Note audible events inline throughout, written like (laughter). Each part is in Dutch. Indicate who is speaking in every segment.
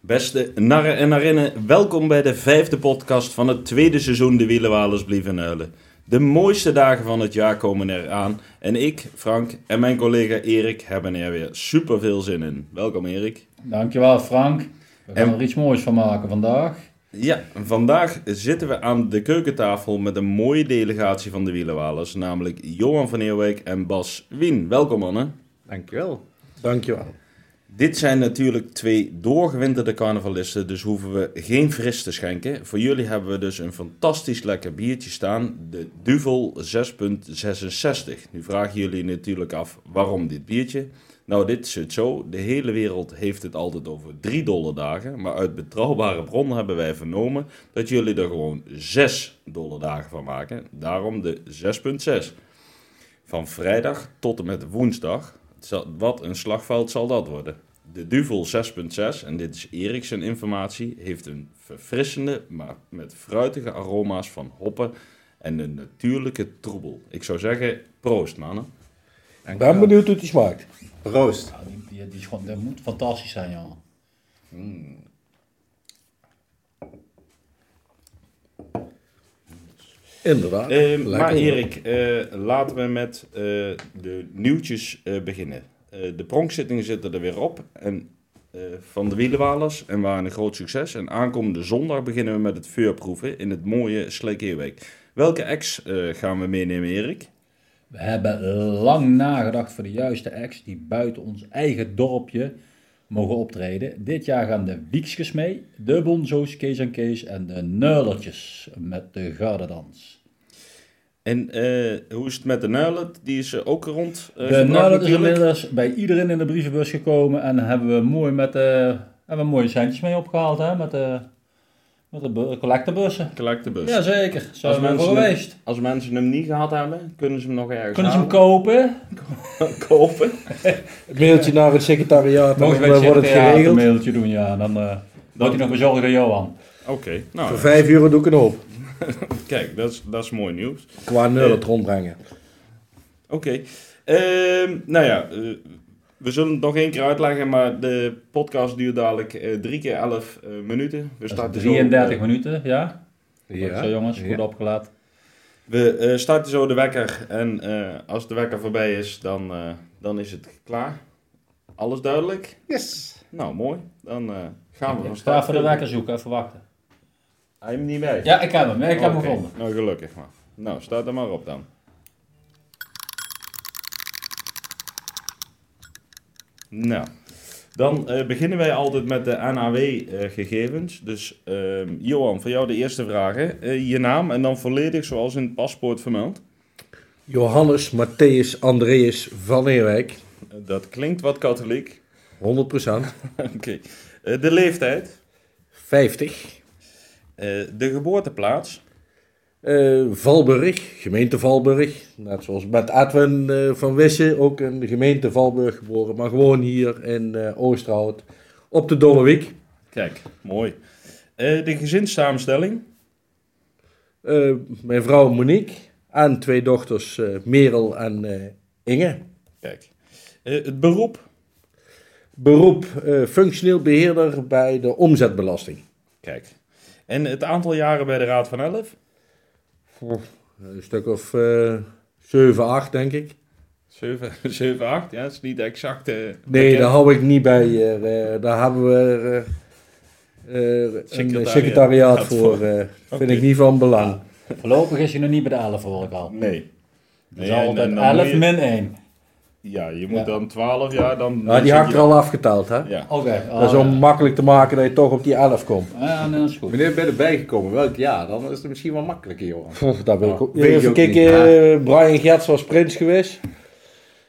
Speaker 1: Beste narren en narinnen, welkom bij de vijfde podcast van het tweede seizoen De Wielenwalers Blieven Huilen. De mooiste dagen van het jaar komen eraan en ik, Frank en mijn collega Erik hebben er weer super veel zin in. Welkom Erik.
Speaker 2: Dankjewel Frank. We gaan
Speaker 1: En-
Speaker 2: er iets moois van maken vandaag.
Speaker 1: Ja, vandaag zitten we aan de keukentafel met een mooie delegatie van de Wielenwalers, namelijk Johan van Eerwijk en Bas Wien. Welkom mannen.
Speaker 3: Dankjewel.
Speaker 4: Dankjewel.
Speaker 1: Dit zijn natuurlijk twee doorgewinterde carnavalisten, dus hoeven we geen fris te schenken. Voor jullie hebben we dus een fantastisch lekker biertje staan, de Duvel 6.66. Nu vragen jullie natuurlijk af, waarom dit biertje? Nou, dit zit zo. De hele wereld heeft het altijd over 3 dollar dagen, maar uit betrouwbare bronnen hebben wij vernomen dat jullie er gewoon 6 dollar dagen van maken. Daarom de 6.6. Van vrijdag tot en met woensdag. Het zal- Wat een slagveld zal dat worden. De Duvel 6.6, en dit is Erik zijn informatie, heeft een verfrissende, maar met fruitige aroma's van hoppen en een natuurlijke troebel. Ik zou zeggen, proost mannen.
Speaker 4: Ik ben benieuwd hoe het smaakt.
Speaker 3: Proost.
Speaker 2: Nou, die, die, die is gewoon, dat moet fantastisch zijn, joh.
Speaker 4: Inderdaad.
Speaker 1: Eh,
Speaker 4: Lekker,
Speaker 1: maar
Speaker 4: hoor.
Speaker 1: Erik, eh, laten we met eh, de nieuwtjes eh, beginnen. Eh, de pronkzittingen zitten er weer op en, eh, van de wielenwalers en waren een groot succes. En aankomende zondag beginnen we met het vuurproeven in het mooie Sleekeerweek. Welke ex eh, gaan we meenemen, Erik?
Speaker 2: We hebben lang nagedacht voor de juiste acts die buiten ons eigen dorpje mogen optreden. Dit jaar gaan de Wiekskes mee, de Bonzo's, Kees en Kees en de Neulertjes met de Gardedans.
Speaker 1: En eh, hoe is het met de Nuilen? Die is eh, ook rond. eh,
Speaker 2: de
Speaker 1: gebracht
Speaker 2: Neulet is
Speaker 1: natuurlijk.
Speaker 2: inmiddels bij iedereen in de brievenbus gekomen en hebben we mooi met de, hebben we mooie centjes mee opgehaald hè, met de, met de bu- collectebussen.
Speaker 1: Gelijk de bus.
Speaker 2: Jazeker, zijn we
Speaker 1: mensen
Speaker 2: voor
Speaker 1: hem-
Speaker 2: geweest.
Speaker 1: Als mensen hem niet gehad hebben, kunnen ze hem nog ergens
Speaker 2: Kunnen ze hem
Speaker 1: halen.
Speaker 2: kopen?
Speaker 1: (laughs) kopen.
Speaker 4: Mailtje naar het secretariaat en dan wordt het
Speaker 2: een
Speaker 4: geregeld.
Speaker 2: mailtje doen, ja. Dan eh wordt hij nog bezorgd door Johan.
Speaker 1: Oké, nou
Speaker 4: Voor vijf euro doe ik een hoop.
Speaker 1: kijk, dat is, dat is mooi nieuws.
Speaker 4: Qua nul het rondbrengen.
Speaker 1: Oké. Ehm, nou ja, eh, we zullen het nog één keer uitleggen, maar de podcast duurt dadelijk eh, drie keer elf eh, minuten. We
Speaker 2: Dat
Speaker 1: starten
Speaker 2: is
Speaker 1: zo- eh,
Speaker 2: 33 minuten, ja. Zo
Speaker 4: Ja.
Speaker 2: jongens, goed
Speaker 4: Ja.
Speaker 2: opgelaat.
Speaker 1: we eh, starten zo de wekker en eh, als de wekker voorbij is, dan, eh, dan is het klaar. Alles duidelijk?
Speaker 4: Yes.
Speaker 1: Nou, mooi. Dan eh, gaan we
Speaker 2: Ik
Speaker 1: van
Speaker 2: sta
Speaker 1: start.
Speaker 2: voor de wekker zoeken, even wachten.
Speaker 1: Hij hem niet bij.
Speaker 2: Ja, ik heb hem, ik heb hem
Speaker 1: Oké,
Speaker 2: gevonden.
Speaker 1: Nou, gelukkig maar. Nou, staat er maar op dan. Nou, dan eh, beginnen wij altijd met de NAW-gegevens. eh, dus ehm, Johan, voor jou de eerste vragen. Eh, je naam en dan volledig zoals in het paspoort vermeld.
Speaker 4: Johannes Matthäus Andreas van Eerwijk.
Speaker 1: Eh, dat klinkt wat katholiek. (laughs)
Speaker 4: 100%.
Speaker 1: Oké. Eh, de leeftijd.
Speaker 4: 50.
Speaker 1: Eh, de geboorteplaats.
Speaker 4: Eh, Valburg, gemeente Valburg. Net zoals met Edwin eh, van Wissen, ook in de gemeente Valburg geboren. Maar gewoon hier in eh Oosterhout. Op de Dolle Wiek.
Speaker 1: Kijk, mooi. Eh, de gezinssamenstelling.
Speaker 4: Eh, mijn vrouw Monique en twee dochters eh, Merel en eh, Inge.
Speaker 1: Kijk. Eh, het beroep.
Speaker 4: Beroep eh, functioneel beheerder bij de omzetbelasting.
Speaker 1: Kijk. En het aantal jaren bij de Raad van Elf?
Speaker 4: Een stuk of eh 7, 8 denk ik.
Speaker 1: (laughs) 7, 7 8, ja, dat is niet exact. eh,
Speaker 4: Nee,
Speaker 1: bekend.
Speaker 4: daar hou ik niet bij. eh, eh, daar hebben we eh, eh, een
Speaker 1: Secretariaat.
Speaker 4: secretariaat voor. eh, Vind ik niet van belang.
Speaker 1: Ah,
Speaker 2: Voorlopig is hij nog niet bij de 11, hoor ik al.
Speaker 1: Nee.
Speaker 2: Dus
Speaker 1: Nee, en-
Speaker 2: altijd
Speaker 1: en dan
Speaker 2: 11
Speaker 1: moet je-
Speaker 2: min 1.
Speaker 1: Ja, je
Speaker 2: Ja.
Speaker 1: moet dan 12 jaar dan.
Speaker 4: Nou,
Speaker 1: dan
Speaker 4: die
Speaker 1: zit
Speaker 4: had ik
Speaker 1: je-
Speaker 4: er al afgetaald, hè?
Speaker 1: Ja.
Speaker 2: Oké.
Speaker 4: Dat is om makkelijk te maken dat je toch op die 11 komt.
Speaker 2: Ja, nee, dat is goed.
Speaker 3: Wanneer ben je erbij gekomen? Welk jaar? Dan is het misschien wel makkelijker, Johan.
Speaker 4: Pff, dat wil ik ook.
Speaker 3: weet je
Speaker 4: Even
Speaker 3: ook
Speaker 4: kijken,
Speaker 3: niet.
Speaker 4: eh, Brian Gerts was prins geweest.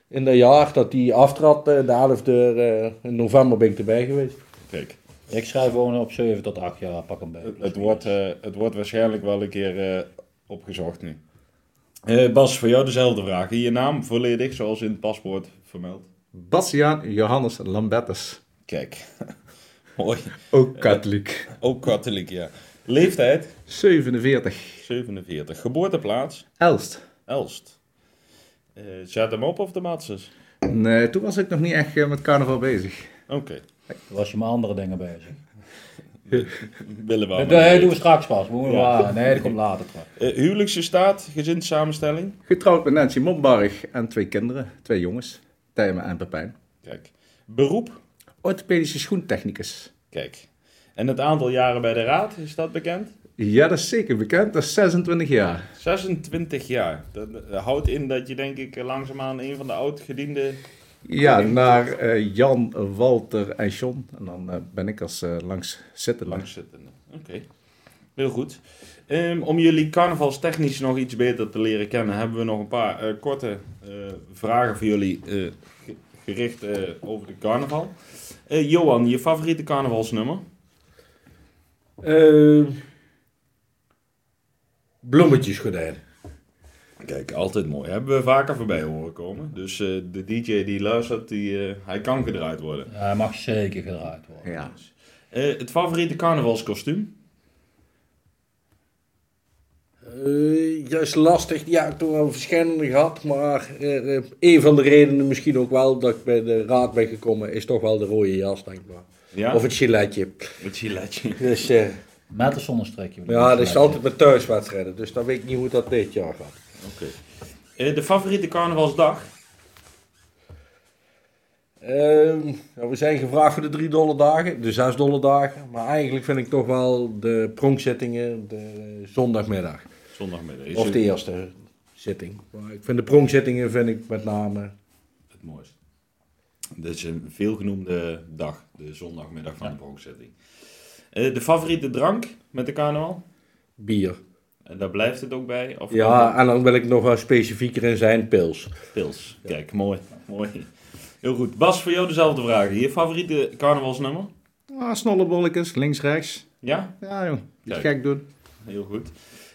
Speaker 4: In dat jaar dat hij aftrad, eh, de 11e eh, in november ben ik erbij geweest.
Speaker 1: Kijk,
Speaker 2: Ik schrijf gewoon op 7 tot 8 jaar, pak hem bij.
Speaker 1: het wordt, eh, het wordt waarschijnlijk wel een keer eh, opgezocht nu. Eh, Bas, voor jou dezelfde vraag. Je naam volledig, zoals in het paspoort vermeld.
Speaker 3: Bastiaan Johannes Lambertus.
Speaker 1: Kijk. (laughs) Mooi.
Speaker 3: Ook katholiek.
Speaker 1: Ook katholiek, ja. Leeftijd?
Speaker 3: 47.
Speaker 1: 47. Geboorteplaats?
Speaker 3: Elst.
Speaker 1: Elst. Eh, zet hem op of de Matsers?
Speaker 3: Nee, toen was ik nog niet echt eh, met carnaval bezig.
Speaker 1: Oké.
Speaker 2: Toen was je met andere dingen bezig.
Speaker 1: Willen we allemaal
Speaker 2: Dat eh,
Speaker 1: niet
Speaker 2: doen we
Speaker 1: weten.
Speaker 2: straks pas. Moeten we
Speaker 1: Ja.
Speaker 2: bewaren. Nee, dat komt later. terug.
Speaker 1: Eh, huwelijksgestaat, gezinssamenstelling.
Speaker 3: Getrouwd met Nancy Mombarg en twee kinderen, twee jongens, Tijmen en Pepijn.
Speaker 1: Kijk. Beroep.
Speaker 3: Orthopedische schoentechnicus.
Speaker 1: Kijk. En het aantal jaren bij de raad, is dat bekend?
Speaker 3: Ja, dat is zeker bekend, dat is 26 jaar.
Speaker 1: 26 jaar. Dat eh, houdt in dat je denk ik eh, langzaamaan een van de oud-gediende...
Speaker 3: Ja, naar eh, Jan, Walter en John. En dan eh, ben ik als eh langs zitten.
Speaker 1: Langzittende. Oké. Heel goed. Ehm, om jullie carnavalstechnisch nog iets beter te leren kennen, hebben we nog een paar eh, korte eh, vragen voor jullie eh, ge- gericht eh, over de carnaval. Eh, Johan, je favoriete carnavalsnummer?
Speaker 4: Eh, bloemetjesgordijn.
Speaker 1: Kijk, altijd mooi. Hebben we vaker voorbij horen komen. Dus eh, de DJ die luistert, die, eh, hij kan gedraaid worden.
Speaker 2: Ja, hij mag zeker gedraaid worden.
Speaker 3: Ja.
Speaker 1: Eh, het favoriete carnavalskostuum?
Speaker 4: Eh, ja, is lastig. Ja, ik heb er wel verschillende gehad. Maar eh, eh, een van de redenen misschien ook wel dat ik bij de raad ben gekomen, is toch wel de rode jas, denk ik maar.
Speaker 1: Ja,
Speaker 4: Of het giletje.
Speaker 1: het giletje.
Speaker 4: Dus eh,
Speaker 2: Met een zonnestreekje. bedoel
Speaker 4: ja,
Speaker 2: ik.
Speaker 4: dat is altijd met thuiswedstrijden. Dus dan weet ik niet hoe dat dit jaar gaat.
Speaker 1: Oké. Eh, de favoriete carnavalsdag?
Speaker 4: Ehm, ja, we zijn gevraagd voor de 3 dollar dagen, de 6 dollar dagen. Maar eigenlijk vind ik toch wel de pronkzittingen de eh, zondagmiddag.
Speaker 1: Zondagmiddag. Is
Speaker 4: Of de eerste zitting. Maar ik vind de pronkzittingen vind ik met name.
Speaker 1: het mooiste. Dit is een veelgenoemde dag, de zondagmiddag van de bronkzetting. Eh, de favoriete drank met de carnaval?
Speaker 4: Bier.
Speaker 1: En daar blijft het ook bij? Of
Speaker 4: Ja, en dan wil ik nog wel specifieker in zijn, pils.
Speaker 1: Pils. Kijk, mooi. mooi. Heel goed. Bas, voor jou dezelfde vraag. Je favoriete carnavalsnummer?
Speaker 3: Ah, snollebolletjes, links, rechts.
Speaker 1: Ja?
Speaker 3: Ja, joh. Niet
Speaker 1: Kijk.
Speaker 3: gek doen.
Speaker 1: Heel goed.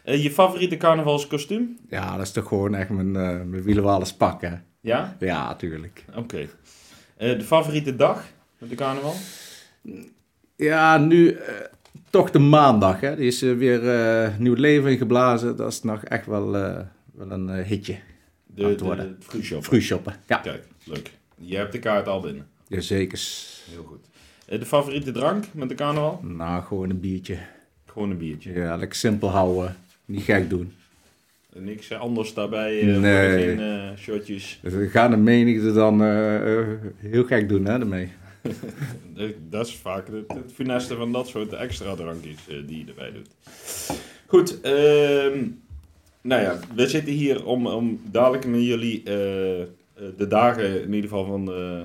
Speaker 1: Eh, je favoriete carnavalskostuum?
Speaker 3: Ja, dat is toch gewoon echt mijn, eh mijn wielenwalens pak, hè?
Speaker 1: Ja?
Speaker 3: Ja, tuurlijk.
Speaker 1: Oké. Eh, de favoriete dag met de carnaval?
Speaker 3: Ja, nu eh, toch de maandag, hè? Die is eh, weer eh, nieuw leven ingeblazen. Dat is nog echt wel, eh, wel een eh, hitje.
Speaker 1: De,
Speaker 3: Aan
Speaker 1: de,
Speaker 3: het worden.
Speaker 1: het vroegshoppen.
Speaker 3: Vroegshoppen. Ja,
Speaker 1: Kijk, leuk. Je hebt de kaart al binnen.
Speaker 3: jazekers.
Speaker 1: Heel goed. Eh, de favoriete drank met de carnaval?
Speaker 3: Nou, gewoon een biertje.
Speaker 1: Gewoon een biertje.
Speaker 3: Ja, lekker simpel houden. Niet gek doen.
Speaker 1: Niks eh, anders daarbij. eh,
Speaker 3: Nee.
Speaker 1: worden Geen eh, shotjes.
Speaker 3: Dus we gaan de menigte dan eh, eh, heel gek doen, hè, daarmee.
Speaker 1: Eh, Dat is vaak het, het funeste van dat soort extra drankjes eh, die je erbij doet. Goed, ehm, nou ja, we zitten hier om, om dadelijk met jullie eh, eh, de dagen in ieder geval van de,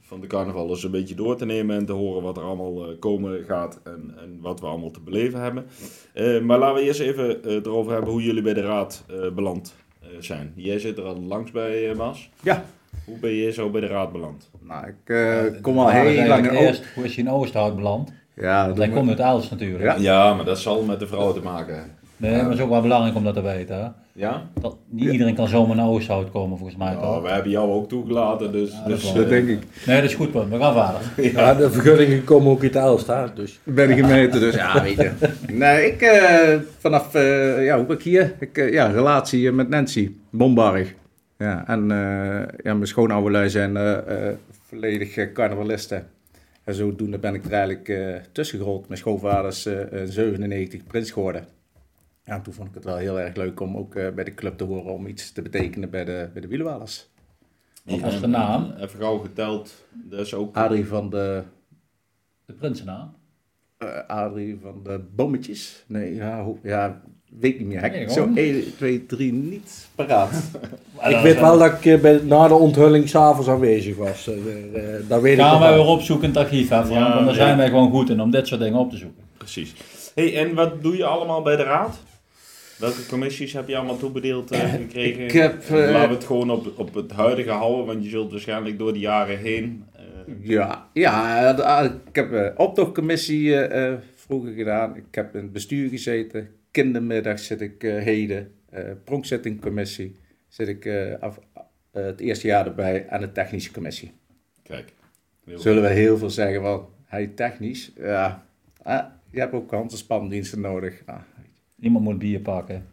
Speaker 1: van de carnaval eens een beetje door te nemen en te horen wat er allemaal eh, komen gaat en, en wat we allemaal te beleven hebben. Eh, maar laten we eerst even eh, erover hebben hoe jullie bij de raad eh, beland eh, zijn. Jij zit er al langs bij, eh Bas.
Speaker 3: Ja.
Speaker 1: Hoe ben je zo bij de raad beland?
Speaker 3: Nou, ik eh,
Speaker 2: Ja,
Speaker 3: kom al
Speaker 2: de vraag is
Speaker 3: heel lang
Speaker 2: eigenlijk
Speaker 3: in
Speaker 2: eerst,
Speaker 3: Oost.
Speaker 2: Hoe is hij in Oosterhout beland?
Speaker 3: Ja, dat
Speaker 2: Want hij
Speaker 3: doen we-
Speaker 2: komt uit Els natuurlijk.
Speaker 3: Ja.
Speaker 1: Ja, maar dat zal met de vrouwen te maken hebben.
Speaker 2: Nee, maar het is ook wel belangrijk om dat te weten. Hè?
Speaker 1: Ja?
Speaker 2: Dat, niet iedereen kan zomaar naar Oosterhout komen volgens mij.
Speaker 1: Nou,
Speaker 2: toch?
Speaker 1: we hebben jou ook toegelaten, dus...
Speaker 2: dat
Speaker 1: dus
Speaker 2: is
Speaker 3: dat denk ik.
Speaker 2: Nee, dat is goed, man. we gaan verder.
Speaker 4: Ja. de vergunningen komen ook uit Elsta, dus.
Speaker 3: bij de gemeente, dus ja, weet je. (laughs) Nee, ik eh, vanaf, eh, ja, hoe ben ik hier? Ik, eh, ja, relatie eh, met Nancy, Bombarg. Ja, en eh, ja, mijn schoonoude lui zijn eh, eh, volledig eh, carnavalisten. En zodoende ben ik er eigenlijk eh tussengerold. Mijn schoonvader is eh, eh, 97 prins geworden. Ja, toen vond ik het wel heel erg leuk om ook eh, bij de club te horen om iets te betekenen bij de, bij de wielerwalers.
Speaker 2: Wat was de naam?
Speaker 1: Even gauw geteld, dat is ook...
Speaker 3: Adrie van de,
Speaker 2: De prinsennaam.
Speaker 3: eh, Adrie van de Bommetjes? Nee, ja, hoe- ja weet niet meer. Heb ik
Speaker 2: Nee,
Speaker 3: zo
Speaker 2: gewoon.
Speaker 3: 1, 2, 3 niet paraat.
Speaker 4: ik weet wel dat ik eh, bij, na de onthulling s'avonds aanwezig was. Eh, eh, dat weet ik
Speaker 2: Gaan
Speaker 4: nog
Speaker 2: wij
Speaker 4: wel.
Speaker 2: weer opzoeken in het archief, hè, Frank?
Speaker 1: Ja,
Speaker 2: Want daar
Speaker 1: nee.
Speaker 2: zijn wij gewoon goed in om dit soort dingen op te zoeken.
Speaker 1: Precies. hey, en wat doe je allemaal bij de raad? Welke commissies heb je allemaal toebedeeld eh, gekregen?
Speaker 3: Ik heb, eh,
Speaker 1: Laten we het gewoon op, op het huidige houden, want je zult waarschijnlijk door de jaren heen... eh,
Speaker 3: Ja, ja de- ah, ik heb eh optochtcommissie eh, eh, vroeger gedaan. Ik heb in het bestuur gezeten. Kindermiddag zit ik eh, heden. Eh pronkzettingcommissie zit ik eh, af, eh, het eerste jaar erbij. aan de technische commissie.
Speaker 1: kijk. Heel
Speaker 3: Zullen we heel veel zeggen van, hij technisch, ja, ah, je hebt ook kans- en spandiensten nodig. Ah,
Speaker 2: Iemand moet bier pakken.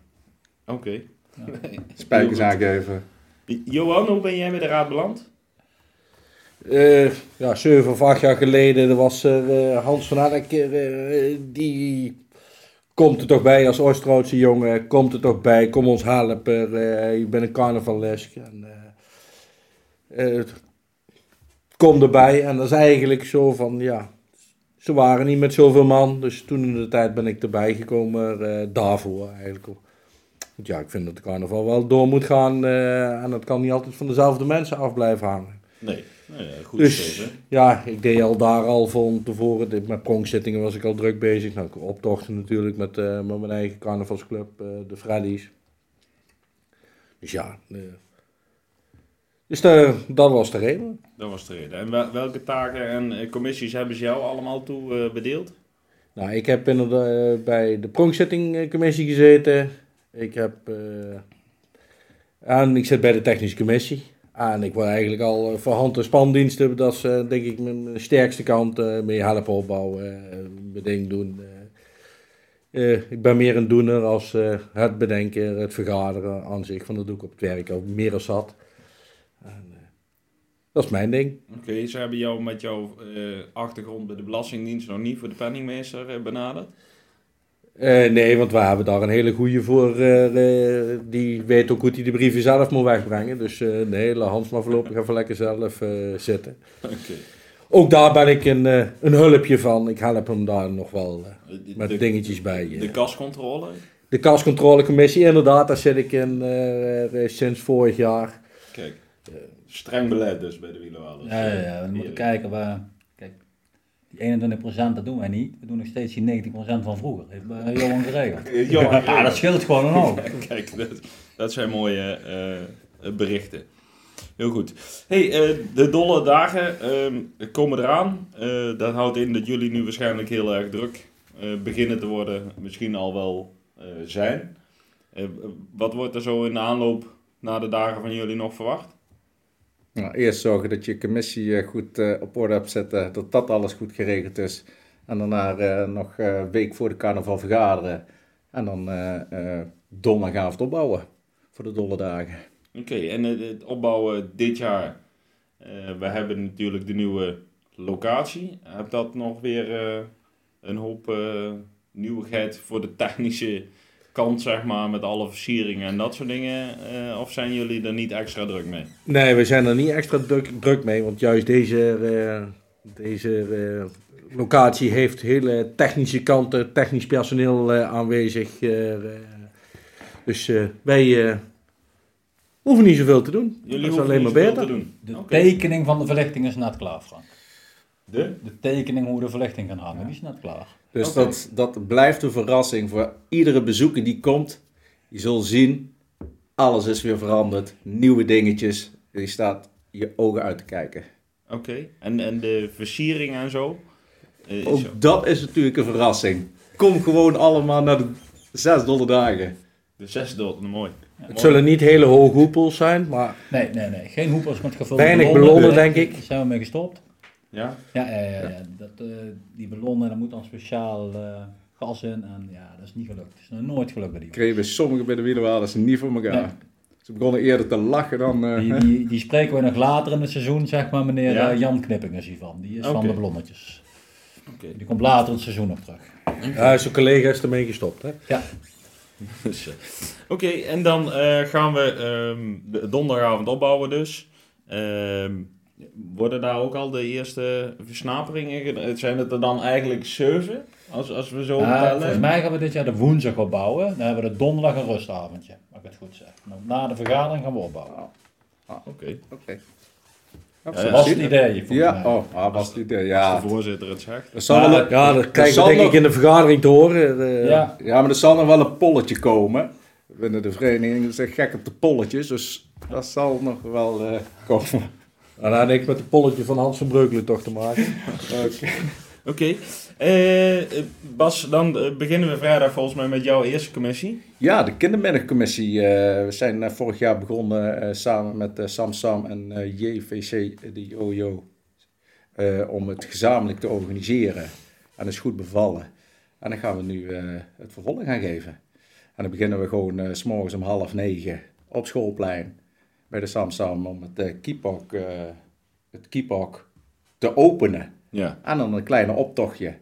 Speaker 1: Oké.
Speaker 3: spijkers aangeven.
Speaker 1: Johan, hoe ben jij bij de raad beland?
Speaker 4: eh, ja, zeven of acht jaar geleden er was er, eh, Hans van Adek, eh, eh, die komt er toch bij als Oosterhoutse jongen, komt er toch bij, kom ons helpen, eh, ik ben een carnavalesk. En, eh, eh, kom erbij en dat is eigenlijk zo van, ja, ze waren niet met zoveel man, dus toen in de tijd ben ik erbij gekomen eh, daarvoor eigenlijk. Want ja, ik vind dat de carnaval wel door moet gaan eh, en dat kan niet altijd van dezelfde mensen af blijven hangen.
Speaker 1: Nee, nou ja, goed
Speaker 4: Dus-
Speaker 1: dus...
Speaker 4: Ja, ik deed al daar al van tevoren. dit- Met pronkzittingen was ik al druk bezig. Nou, optochten natuurlijk met, eh, met mijn eigen carnavalsclub, eh, de Freddy's. Dus ja. eh, dus eh, dat was de reden.
Speaker 1: Dat was de reden. En wel- welke taken en eh, commissies hebben ze jou allemaal toe eh, bedeeld?
Speaker 4: Nou, ik heb inderdaad eh, bij de pronkzittingcommissie gezeten. Ik heb... eh, en ik zit bij de technische commissie. En ik word eigenlijk al eh, voor hand- en spandiensten, dat is eh, denk ik mijn mijn sterkste kant, eh, mee helpen opbouwen, eh, mijn ding doen. eh. Eh, ik ben meer een doener als eh, het bedenken, het vergaderen aan zich, van dat doe ik op het werk al meer dan zat. En, eh, dat is mijn ding.
Speaker 1: Oké, ze hebben jou met jouw eh, achtergrond bij de Belastingdienst nog niet voor de penningmeester eh, benaderd?
Speaker 4: Eh, nee, want we hebben daar een hele goede voor. eh, eh, die weet ook hoe hij de brieven zelf moet wegbrengen. Dus eh nee, laat Hans maar voorlopig even lekker zelf eh, zitten.
Speaker 1: Oké.
Speaker 4: Ook daar ben ik een, eh, een hulpje van. Ik help hem daar nog wel eh, met
Speaker 1: de,
Speaker 4: dingetjes bij. eh.
Speaker 1: de kascontrole?
Speaker 4: De kascontrolecommissie, inderdaad, daar zit ik in eh, eh, sinds vorig jaar.
Speaker 1: Kijk, streng beleid dus bij de wielerwaarders.
Speaker 2: Ja, ja, ja, we moeten
Speaker 1: Hier.
Speaker 2: kijken waar. Kijk, die 21% dat doen wij niet. We doen nog steeds die 90% van vroeger. Heeft eh, Johan geregeld.
Speaker 1: (laughs) Eh, Johan,
Speaker 2: Ja, dat scheelt gewoon een hoop.
Speaker 1: (laughs) Kijk, dat, dat zijn mooie eh, berichten. Heel goed. Hey, eh, de dolle dagen eh, komen eraan. Eh, dat houdt in dat jullie nu waarschijnlijk heel erg druk eh, beginnen te worden. Misschien al wel eh, zijn. Eh, wat wordt er zo in de aanloop naar de dagen van jullie nog verwacht?
Speaker 3: Nou, eerst zorgen dat je commissie eh, goed eh, op orde hebt zetten, dat dat alles goed geregeld is. En daarna eh, nog eh, een week voor de carnaval vergaderen. En dan eh, eh, donderdagavond opbouwen voor de dolle dagen.
Speaker 1: Oké, en eh, het opbouwen dit jaar. Eh, we hebben natuurlijk de nieuwe locatie. Heb dat nog weer eh, een hoop eh, nieuwigheid voor de technische kant, zeg maar, met alle versieringen en dat soort dingen? eh, of zijn jullie er niet extra druk mee?
Speaker 4: Nee, we zijn er niet extra druk, druk mee, want juist deze, eh, deze eh, locatie heeft hele technische kanten, technisch personeel eh, aanwezig. eh, eh. dus eh, wij eh, hoeven niet zoveel te doen.
Speaker 1: Jullie
Speaker 4: dat is
Speaker 1: hoeven
Speaker 4: alleen maar
Speaker 1: niet zoveel
Speaker 4: beter.
Speaker 1: te doen.
Speaker 2: De
Speaker 1: Oké.
Speaker 2: tekening van de verlichting is net klaar, Frank.
Speaker 1: De?
Speaker 2: De tekening hoe de verlichting gaat hangen, die is net klaar.
Speaker 3: Dus
Speaker 1: Oké.
Speaker 3: dat, dat blijft een verrassing voor iedere bezoeker die komt. Je zal zien, alles is weer veranderd. Nieuwe dingetjes. Je staat je ogen uit te kijken.
Speaker 1: Oké. En, en de versiering en zo? Eh,
Speaker 4: Oh.
Speaker 1: is zo.
Speaker 3: Ook dat is natuurlijk een verrassing. Kom gewoon allemaal naar de zes dolle dagen.
Speaker 1: De zes dood, mooi.
Speaker 4: Het zullen niet hele hoge hoepels zijn, maar
Speaker 2: Nee, nee, nee. Geen hoepels met gevulde
Speaker 4: weinig ballonnen, denk ik.
Speaker 2: Daar zijn we mee gestopt.
Speaker 1: Ja?
Speaker 2: Ja, ja, ja, ja. Dat, eh, die ballonnen, daar moet dan speciaal eh, gas in. En ja, dat is niet gelukt. Dat is nog nooit gelukt bij die jongen.
Speaker 3: Kregen sommigen bij de wielerwaarders niet voor elkaar.
Speaker 2: Nee.
Speaker 3: Ze begonnen eerder te lachen dan... eh,
Speaker 2: Die, die, die spreken we nog later in het seizoen, zeg maar, meneer
Speaker 1: Ja.
Speaker 2: eh, Jan Knippingers hiervan. Die is
Speaker 1: Oké.
Speaker 2: van de ballonnetjes.
Speaker 1: Oké.
Speaker 2: Die komt later in het seizoen op terug.
Speaker 4: Ja, eh, zijn collega is ermee gestopt. Hè?
Speaker 2: Ja,
Speaker 1: Dus, eh, Oké, en dan eh, gaan we ehm, de donderdagavond opbouwen dus. Ehm, worden daar ook al de eerste versnaperingen gedaan? Zijn het er dan eigenlijk zeven, als, als we zo
Speaker 2: Ah, volgens
Speaker 1: tellen?
Speaker 2: mij gaan we dit jaar de woensdag opbouwen. Dan hebben we de donderdag een rustavondje, als ik het goed zeg. En Na de vergadering gaan we opbouwen.
Speaker 1: Oké,
Speaker 3: Oké.
Speaker 1: Ja,
Speaker 2: Dat was
Speaker 3: Absoluut.
Speaker 2: het idee, volgens
Speaker 3: Ja,
Speaker 2: mij.
Speaker 3: oh, ah, was het idee.
Speaker 1: als
Speaker 3: Ja.
Speaker 1: de voorzitter het zegt.
Speaker 3: Er zal wel
Speaker 4: Maar,
Speaker 3: een-
Speaker 4: ja, dat krijg je
Speaker 3: zal
Speaker 4: denk
Speaker 3: nog-
Speaker 4: ik in de vergadering te horen. eh.
Speaker 2: Ja,
Speaker 3: Ja, maar er zal nog wel een polletje komen. Binnen de vereniging zijn gek op de polletjes, dus dat zal nog wel eh,
Speaker 2: (laughs)
Speaker 3: komen.
Speaker 4: En dan had ik met het polletje van Hans van Breukelen toch te maken.
Speaker 1: Oké, eh, eh, Bas, dan eh, beginnen we vrijdag volgens mij met jouw eerste commissie.
Speaker 3: Ja, de kindermiddagcommissie. eh, we zijn eh, vorig jaar begonnen eh, samen met eh, Samsam en eh, JVC de Jojo eh, om het gezamenlijk te organiseren. En dat is goed bevallen. En dan gaan we nu eh, het vervolg gaan geven. En dan beginnen we gewoon eh, s s'morgens om half negen op schoolplein bij de Samsam om het eh kiepok eh, het keephok te openen.
Speaker 1: Ja.
Speaker 3: En dan een kleine optochtje.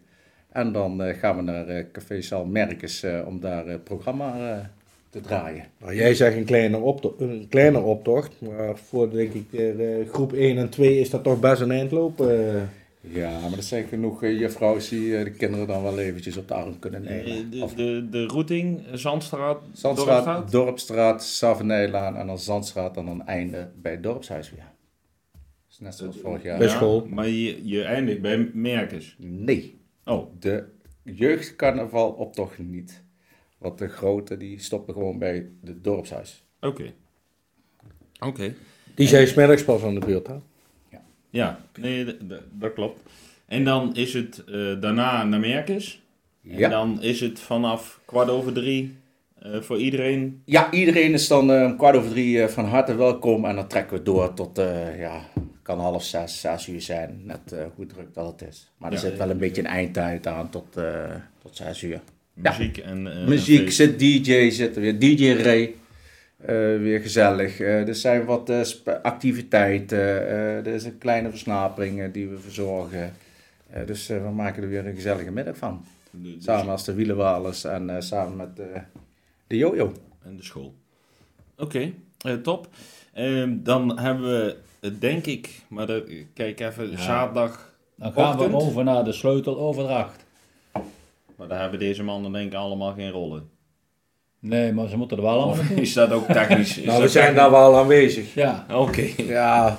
Speaker 3: En dan eh, gaan we naar eh, Café Sal Merkes eh, om daar eh, programma eh, te draaien.
Speaker 4: Nou, jij zegt een kleiner, opto- een kleiner optocht, maar voor denk ik eh, eh, groep 1 en 2 is dat toch best een eindloop. eh.
Speaker 3: Ja, maar dat zijn genoeg eh, juffrouws die eh, de kinderen dan wel eventjes op de arm kunnen
Speaker 1: Eh, De,
Speaker 3: nemen. Of
Speaker 1: de, de routing, eh, Zandstraat, Dorpstraat?
Speaker 3: Zandstraat, Dorpstraat, Savenijlaan en dan Zandstraat en dan einde bij het dorpshuis weer. Dat is net zoals vorig jaar.
Speaker 4: Bij school.
Speaker 1: Maar je, je eindigt bij Merkens.
Speaker 3: Nee,
Speaker 1: Oh,
Speaker 3: de jeugdcarnaval optocht niet. Want de grote die stoppen gewoon bij het dorpshuis.
Speaker 1: oké. Oké.
Speaker 4: Die zijn smiddags pas aan de beurt, hè?
Speaker 1: Ja, nee, d- d- dat klopt. En dan is het eh, daarna naar Merkens.
Speaker 3: Ja.
Speaker 1: En dan is het vanaf kwart over drie eh, voor iedereen.
Speaker 3: Ja, iedereen is dan eh, om kwart over drie eh, van harte welkom. En dan trekken we door tot, eh, ja, kan half zes, zes uur zijn. Net eh, hoe druk dat het is. Maar er
Speaker 1: Ja.
Speaker 3: zit wel een beetje een eindtijd aan tot, eh, tot zes uur.
Speaker 1: Muziek en... eh, en
Speaker 3: Muziek
Speaker 1: feest.
Speaker 3: zit, DJ zit er weer, DJ Ray. eh, weer gezellig. Eh, er zijn wat eh, sp- activiteiten. Eh, er is een kleine versnapering eh, die we verzorgen. Eh, dus eh, we maken er weer een gezellige middag van.
Speaker 1: De-
Speaker 4: Dus-
Speaker 1: de-
Speaker 3: Samen als de wielenwalers en eh, samen met eh, de jojo.
Speaker 1: en de school. Oké, eh, top. Ehm, dan hebben we, eh, denk ik, maar dat, eh, kijk even, zaterdag.
Speaker 2: Dan gaan we
Speaker 1: Ochtend.
Speaker 2: over naar de sleuteloverdracht.
Speaker 1: Maar daar hebben deze mannen denk ik allemaal geen rollen.
Speaker 2: Nee, maar ze moeten er wel allemaal
Speaker 1: Of
Speaker 2: naartoe.
Speaker 1: is dat ook technisch? Is
Speaker 4: Nou, we
Speaker 1: dat
Speaker 4: zijn daar
Speaker 1: technisch?
Speaker 4: wel aanwezig.
Speaker 2: Ja,
Speaker 1: Oké.
Speaker 3: Ja.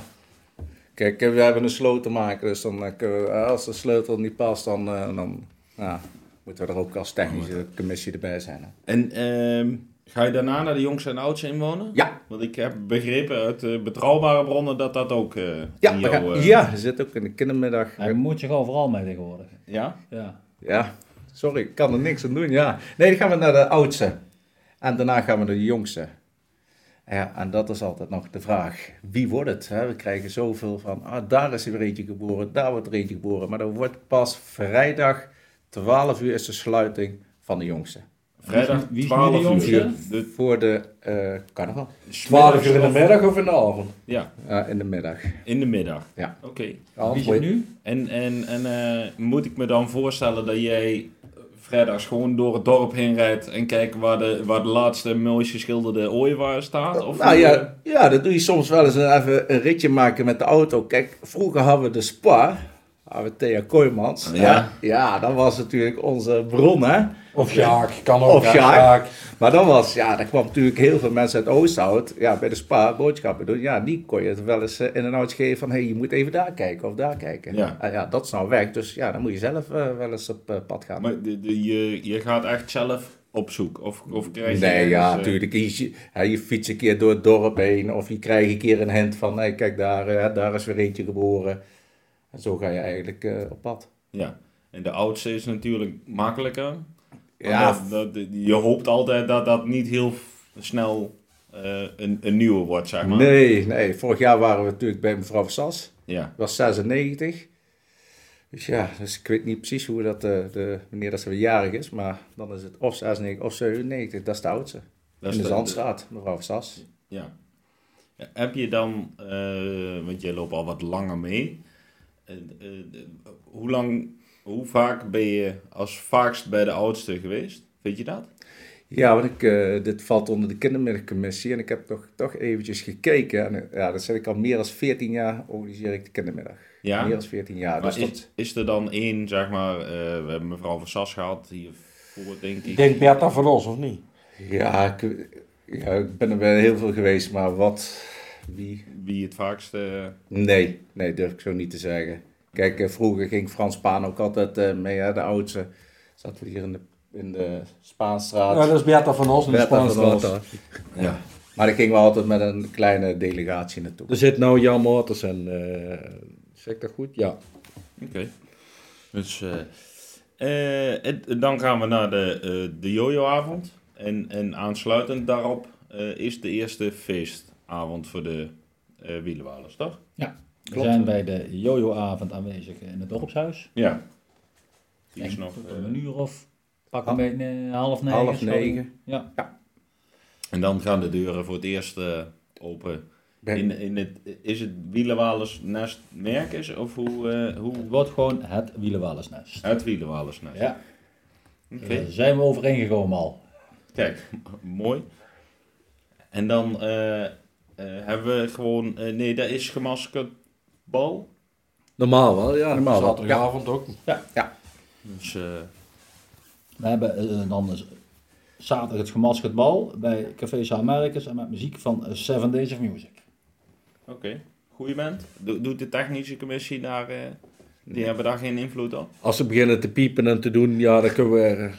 Speaker 3: Kijk, eh, we hebben een sloot te maken, dus dan eh, kunnen we, eh, als de sleutel niet past, dan, eh, dan ja, moeten we er ook als technische commissie erbij zijn. Hè?
Speaker 1: En ehm, ga je daarna naar de jongste en oudste inwonen?
Speaker 3: Ja.
Speaker 1: Want ik heb begrepen uit eh, betrouwbare bronnen dat dat ook eh,
Speaker 3: Ja,
Speaker 1: in
Speaker 3: we
Speaker 1: jouw,
Speaker 3: gaan-
Speaker 1: eh,
Speaker 3: ja, er zit ook in de kindermiddag.
Speaker 2: hij moet zich overal mee tegenwoordig.
Speaker 1: ja?
Speaker 2: Ja.
Speaker 3: Ja, sorry, ik kan er niks aan doen. Ja. Nee, dan gaan we naar de oudste. En daarna gaan we naar de jongste. Ja, en dat is altijd nog de vraag. Wie wordt het? Hè? We krijgen zoveel van, ah, daar is er weer eentje geboren, daar wordt er eentje geboren. Maar dan wordt pas vrijdag, 12 uur is de sluiting van de jongste.
Speaker 1: Vrijdag
Speaker 2: Wie is nu de
Speaker 1: 12
Speaker 2: jongste?
Speaker 1: uur. De,
Speaker 3: Voor de eh, carnaval.
Speaker 4: 12 uur in de middag of in de avond?
Speaker 1: ja,
Speaker 3: Ja, in de middag.
Speaker 1: in de middag.
Speaker 3: Ja.
Speaker 1: Oké.
Speaker 2: Wie is het nu?
Speaker 1: En, en, en eh, moet ik me dan voorstellen dat jij vrijdags gewoon door het dorp heen rijdt en kijkt waar de, waar de laatste mooi geschilderde ooievaar staat? Of
Speaker 3: nou
Speaker 1: hoe, eh,
Speaker 3: ja, ja, dat doe je soms wel eens een- even een ritje maken met de auto. Kijk, vroeger hadden we de Spa, hadden we Thea Kooijmans.
Speaker 1: Ja.
Speaker 3: ja, dat was natuurlijk onze bron, hè.
Speaker 4: Of Jaak, kan ook.
Speaker 3: Of
Speaker 4: hè,
Speaker 3: Sjaak. Maar dan was, ja, daar kwam natuurlijk heel veel mensen uit Oosthout, ja, bij de Spa boodschappen doen. Ja, die kon je het wel eens eh, in een oudje geven van, hé, hey, je moet even daar kijken of daar kijken.
Speaker 1: Ja.
Speaker 3: Ah, ja, dat is nou weg, dus ja, dan moet je zelf eh, wel eens op eh, pad gaan.
Speaker 1: Maar de, de- je, je gaat echt zelf op zoek? Of, of krijg je
Speaker 3: Nee, ja,
Speaker 1: ergens, eh,
Speaker 3: natuurlijk. Je, hè, je fietst een keer door het dorp heen of je krijgt een keer een hint van, hey, kijk daar, hè, daar is weer eentje geboren. En zo ga je eigenlijk eh, op pad.
Speaker 1: Ja, en de oudste is natuurlijk makkelijker.
Speaker 3: Ja.
Speaker 1: Ja. Dat, dat- je hoopt altijd dat dat niet heel f- snel eh, een, een nieuwe wordt, zeg maar.
Speaker 3: Nee, nee. Vorig jaar waren we natuurlijk bij mevrouw Sas.
Speaker 1: Ja,
Speaker 3: Dat was 96. Dus ja, dus ik weet niet precies hoe dat, eh, de, wanneer dat ze weer jarig is, maar dan is het of 96 of 97. Dat is de oudste.
Speaker 1: dat
Speaker 3: In de
Speaker 1: de-
Speaker 3: Zandstraat, mevrouw Sas.
Speaker 1: Ja. Ja, Heb je dan, eh, want jij loopt al wat langer mee. Eh, eh, eh, hoe lang, hoe vaak ben je als vaakst bij de oudste geweest? Weet je dat?
Speaker 3: Ja, want ik, eh, dit valt onder de kindermiddagcommissie en ik heb toch, toch eventjes gekeken. En, eh, ja, dat zit ik al meer dan 14 jaar organiseer ik de kindermiddag.
Speaker 1: Ja.
Speaker 3: Meer dan 14 jaar.
Speaker 1: maar
Speaker 3: Dus
Speaker 1: is,
Speaker 3: dat,
Speaker 1: is er dan één, zeg maar, eh, we hebben mevrouw van Sas gehad hiervoor, denk
Speaker 4: Ik
Speaker 1: ik.
Speaker 4: Denk Bertha van ons, of niet?
Speaker 3: ja, ik, ja, ik ben er wel heel veel geweest, maar wat, wie?
Speaker 1: Wie het vaakst. eh,
Speaker 3: Nee, nee, durf ik zo niet te zeggen. Kijk, eh, vroeger ging Frans Spaan ook altijd eh, mee, hè, de oudste. Zaten we hier in de, in de Spaanstraat.
Speaker 4: Ja, dat is Bertha van ons in de
Speaker 3: Bertha van
Speaker 4: Spaanstraat.
Speaker 3: Rotter.
Speaker 1: ja.
Speaker 3: Maar daar gingen we altijd met een kleine delegatie naartoe.
Speaker 1: Dus
Speaker 4: Er zit nou Jan Mortens en... eh, zeg ik dat goed? Ja.
Speaker 1: Oké. Dus, eh, eh, het- dan gaan we naar de, eh, de jojoavond. En, en aansluitend daarop eh, is de eerste feestavond voor de eh wielenwalers, toch?
Speaker 2: We
Speaker 1: Klopt.
Speaker 2: zijn bij de jojo-avond aanwezig in het dorpshuis.
Speaker 1: Ja. Die
Speaker 2: Denk
Speaker 1: is nog,
Speaker 2: tot
Speaker 1: eh,
Speaker 2: om een uur of pak een beetje eh, half negen.
Speaker 3: half
Speaker 2: schatting.
Speaker 3: negen.
Speaker 2: Ja.
Speaker 1: en dan gaan de deuren voor het eerst eh, open
Speaker 4: Ben-
Speaker 1: In, in het, is het wielenwalers nest merk is? Of hoe, eh,
Speaker 2: Het
Speaker 1: hoe
Speaker 2: wordt gewoon het wielenwalersnest.
Speaker 1: het wielenwalers nest?
Speaker 2: Ja,
Speaker 1: Oké,
Speaker 2: daar zijn we overeengekomen al.
Speaker 1: kijk, (laughs) mooi. En dan eh, eh, hebben we gewoon... eh, nee, dat is gemaskerd bal.
Speaker 4: Normaal wel, ja.
Speaker 3: Normaal wel,
Speaker 4: Zaterdagavond ook.
Speaker 1: Dus, eh,
Speaker 2: We hebben eh, dan is zaterdag het gemaskerd bal bij Café Americus en met muziek van eh, Seven Days of Music.
Speaker 1: (laughs) oké, goeie band. Do- doet de technische commissie daar... eh, die hebben daar geen invloed op?
Speaker 4: Als ze beginnen te piepen en te doen, ja, dan kunnen we eh,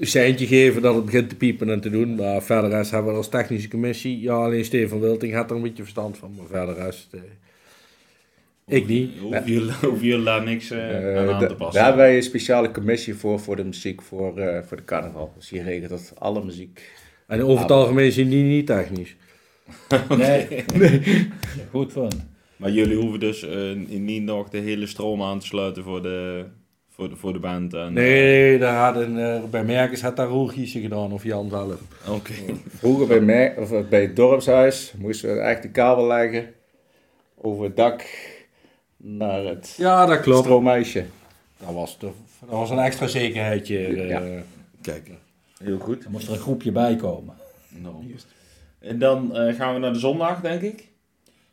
Speaker 4: een seintje geven dat het begint te piepen en te doen. Maar verder rest hebben we als technische commissie, ja, alleen Steven Wilting had er een beetje verstand van. Maar verder rest, eh, ik niet.
Speaker 1: Hoef je, (laughs) hoef je daar niks eh, aan,
Speaker 3: Eh,
Speaker 1: aan
Speaker 3: da-
Speaker 1: te passen?
Speaker 3: daar hebben wij een speciale commissie voor, voor de muziek, voor, eh, voor de carnaval. Dus die regelt dat alle muziek.
Speaker 4: En over het algemeen zijn die niet technisch.
Speaker 2: Nee. Goed fun.
Speaker 1: Maar jullie hoeven dus eh, niet nog de hele stroom aan te sluiten voor de, voor de, voor de band. En,
Speaker 4: Nee, daar hadden, eh, bij Merkens had daar Roel Giesen gedaan of Jan zelf.
Speaker 1: eh, Oké.
Speaker 3: Vroeger bij, mij, of eh, bij het dorpshuis moesten we echt de kabel leggen over het dak naar het
Speaker 4: Ja, dat klopt.
Speaker 3: stroomhuisje.
Speaker 4: Dat was, de, dat was een extra zekerheidje. eh,
Speaker 3: Ja.
Speaker 1: Kijk. Heel goed.
Speaker 2: Er moest er een groepje bij komen.
Speaker 1: Nou. En dan eh, gaan we naar de zondag, denk ik.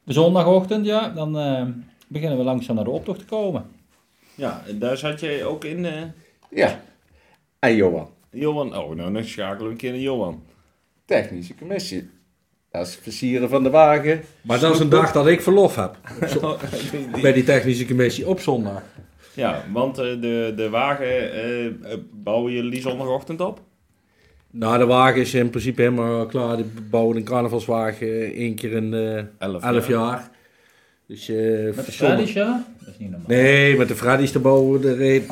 Speaker 2: De zondagochtend, ja, dan eh, beginnen we langzaam naar de optocht te komen.
Speaker 1: Ja, en daar zat jij ook in, eh,
Speaker 3: Ja, en Johan,
Speaker 1: Johan. Oh, nou, dan schakelen we een keer naar Johan.
Speaker 3: technische commissie. Dat is het versieren van de wagen.
Speaker 4: Maar dat is een dag dat ik verlof heb.
Speaker 1: Die- die-
Speaker 4: Bij die technische commissie op zondag.
Speaker 1: ja, want eh, de, de wagen eh, eh, bouwen jullie zondagochtend op?
Speaker 4: Nou, de wagen is in principe helemaal klaar. Die bouwen een carnavalswagen eh, één keer in eh,
Speaker 1: Elf,
Speaker 4: elf jaar. Dus, eh,
Speaker 2: Met de
Speaker 4: zondag-
Speaker 2: Freddy's, ja? Dat is niet normaal.
Speaker 4: Nee, met de Freddy's te bouwen. Er een-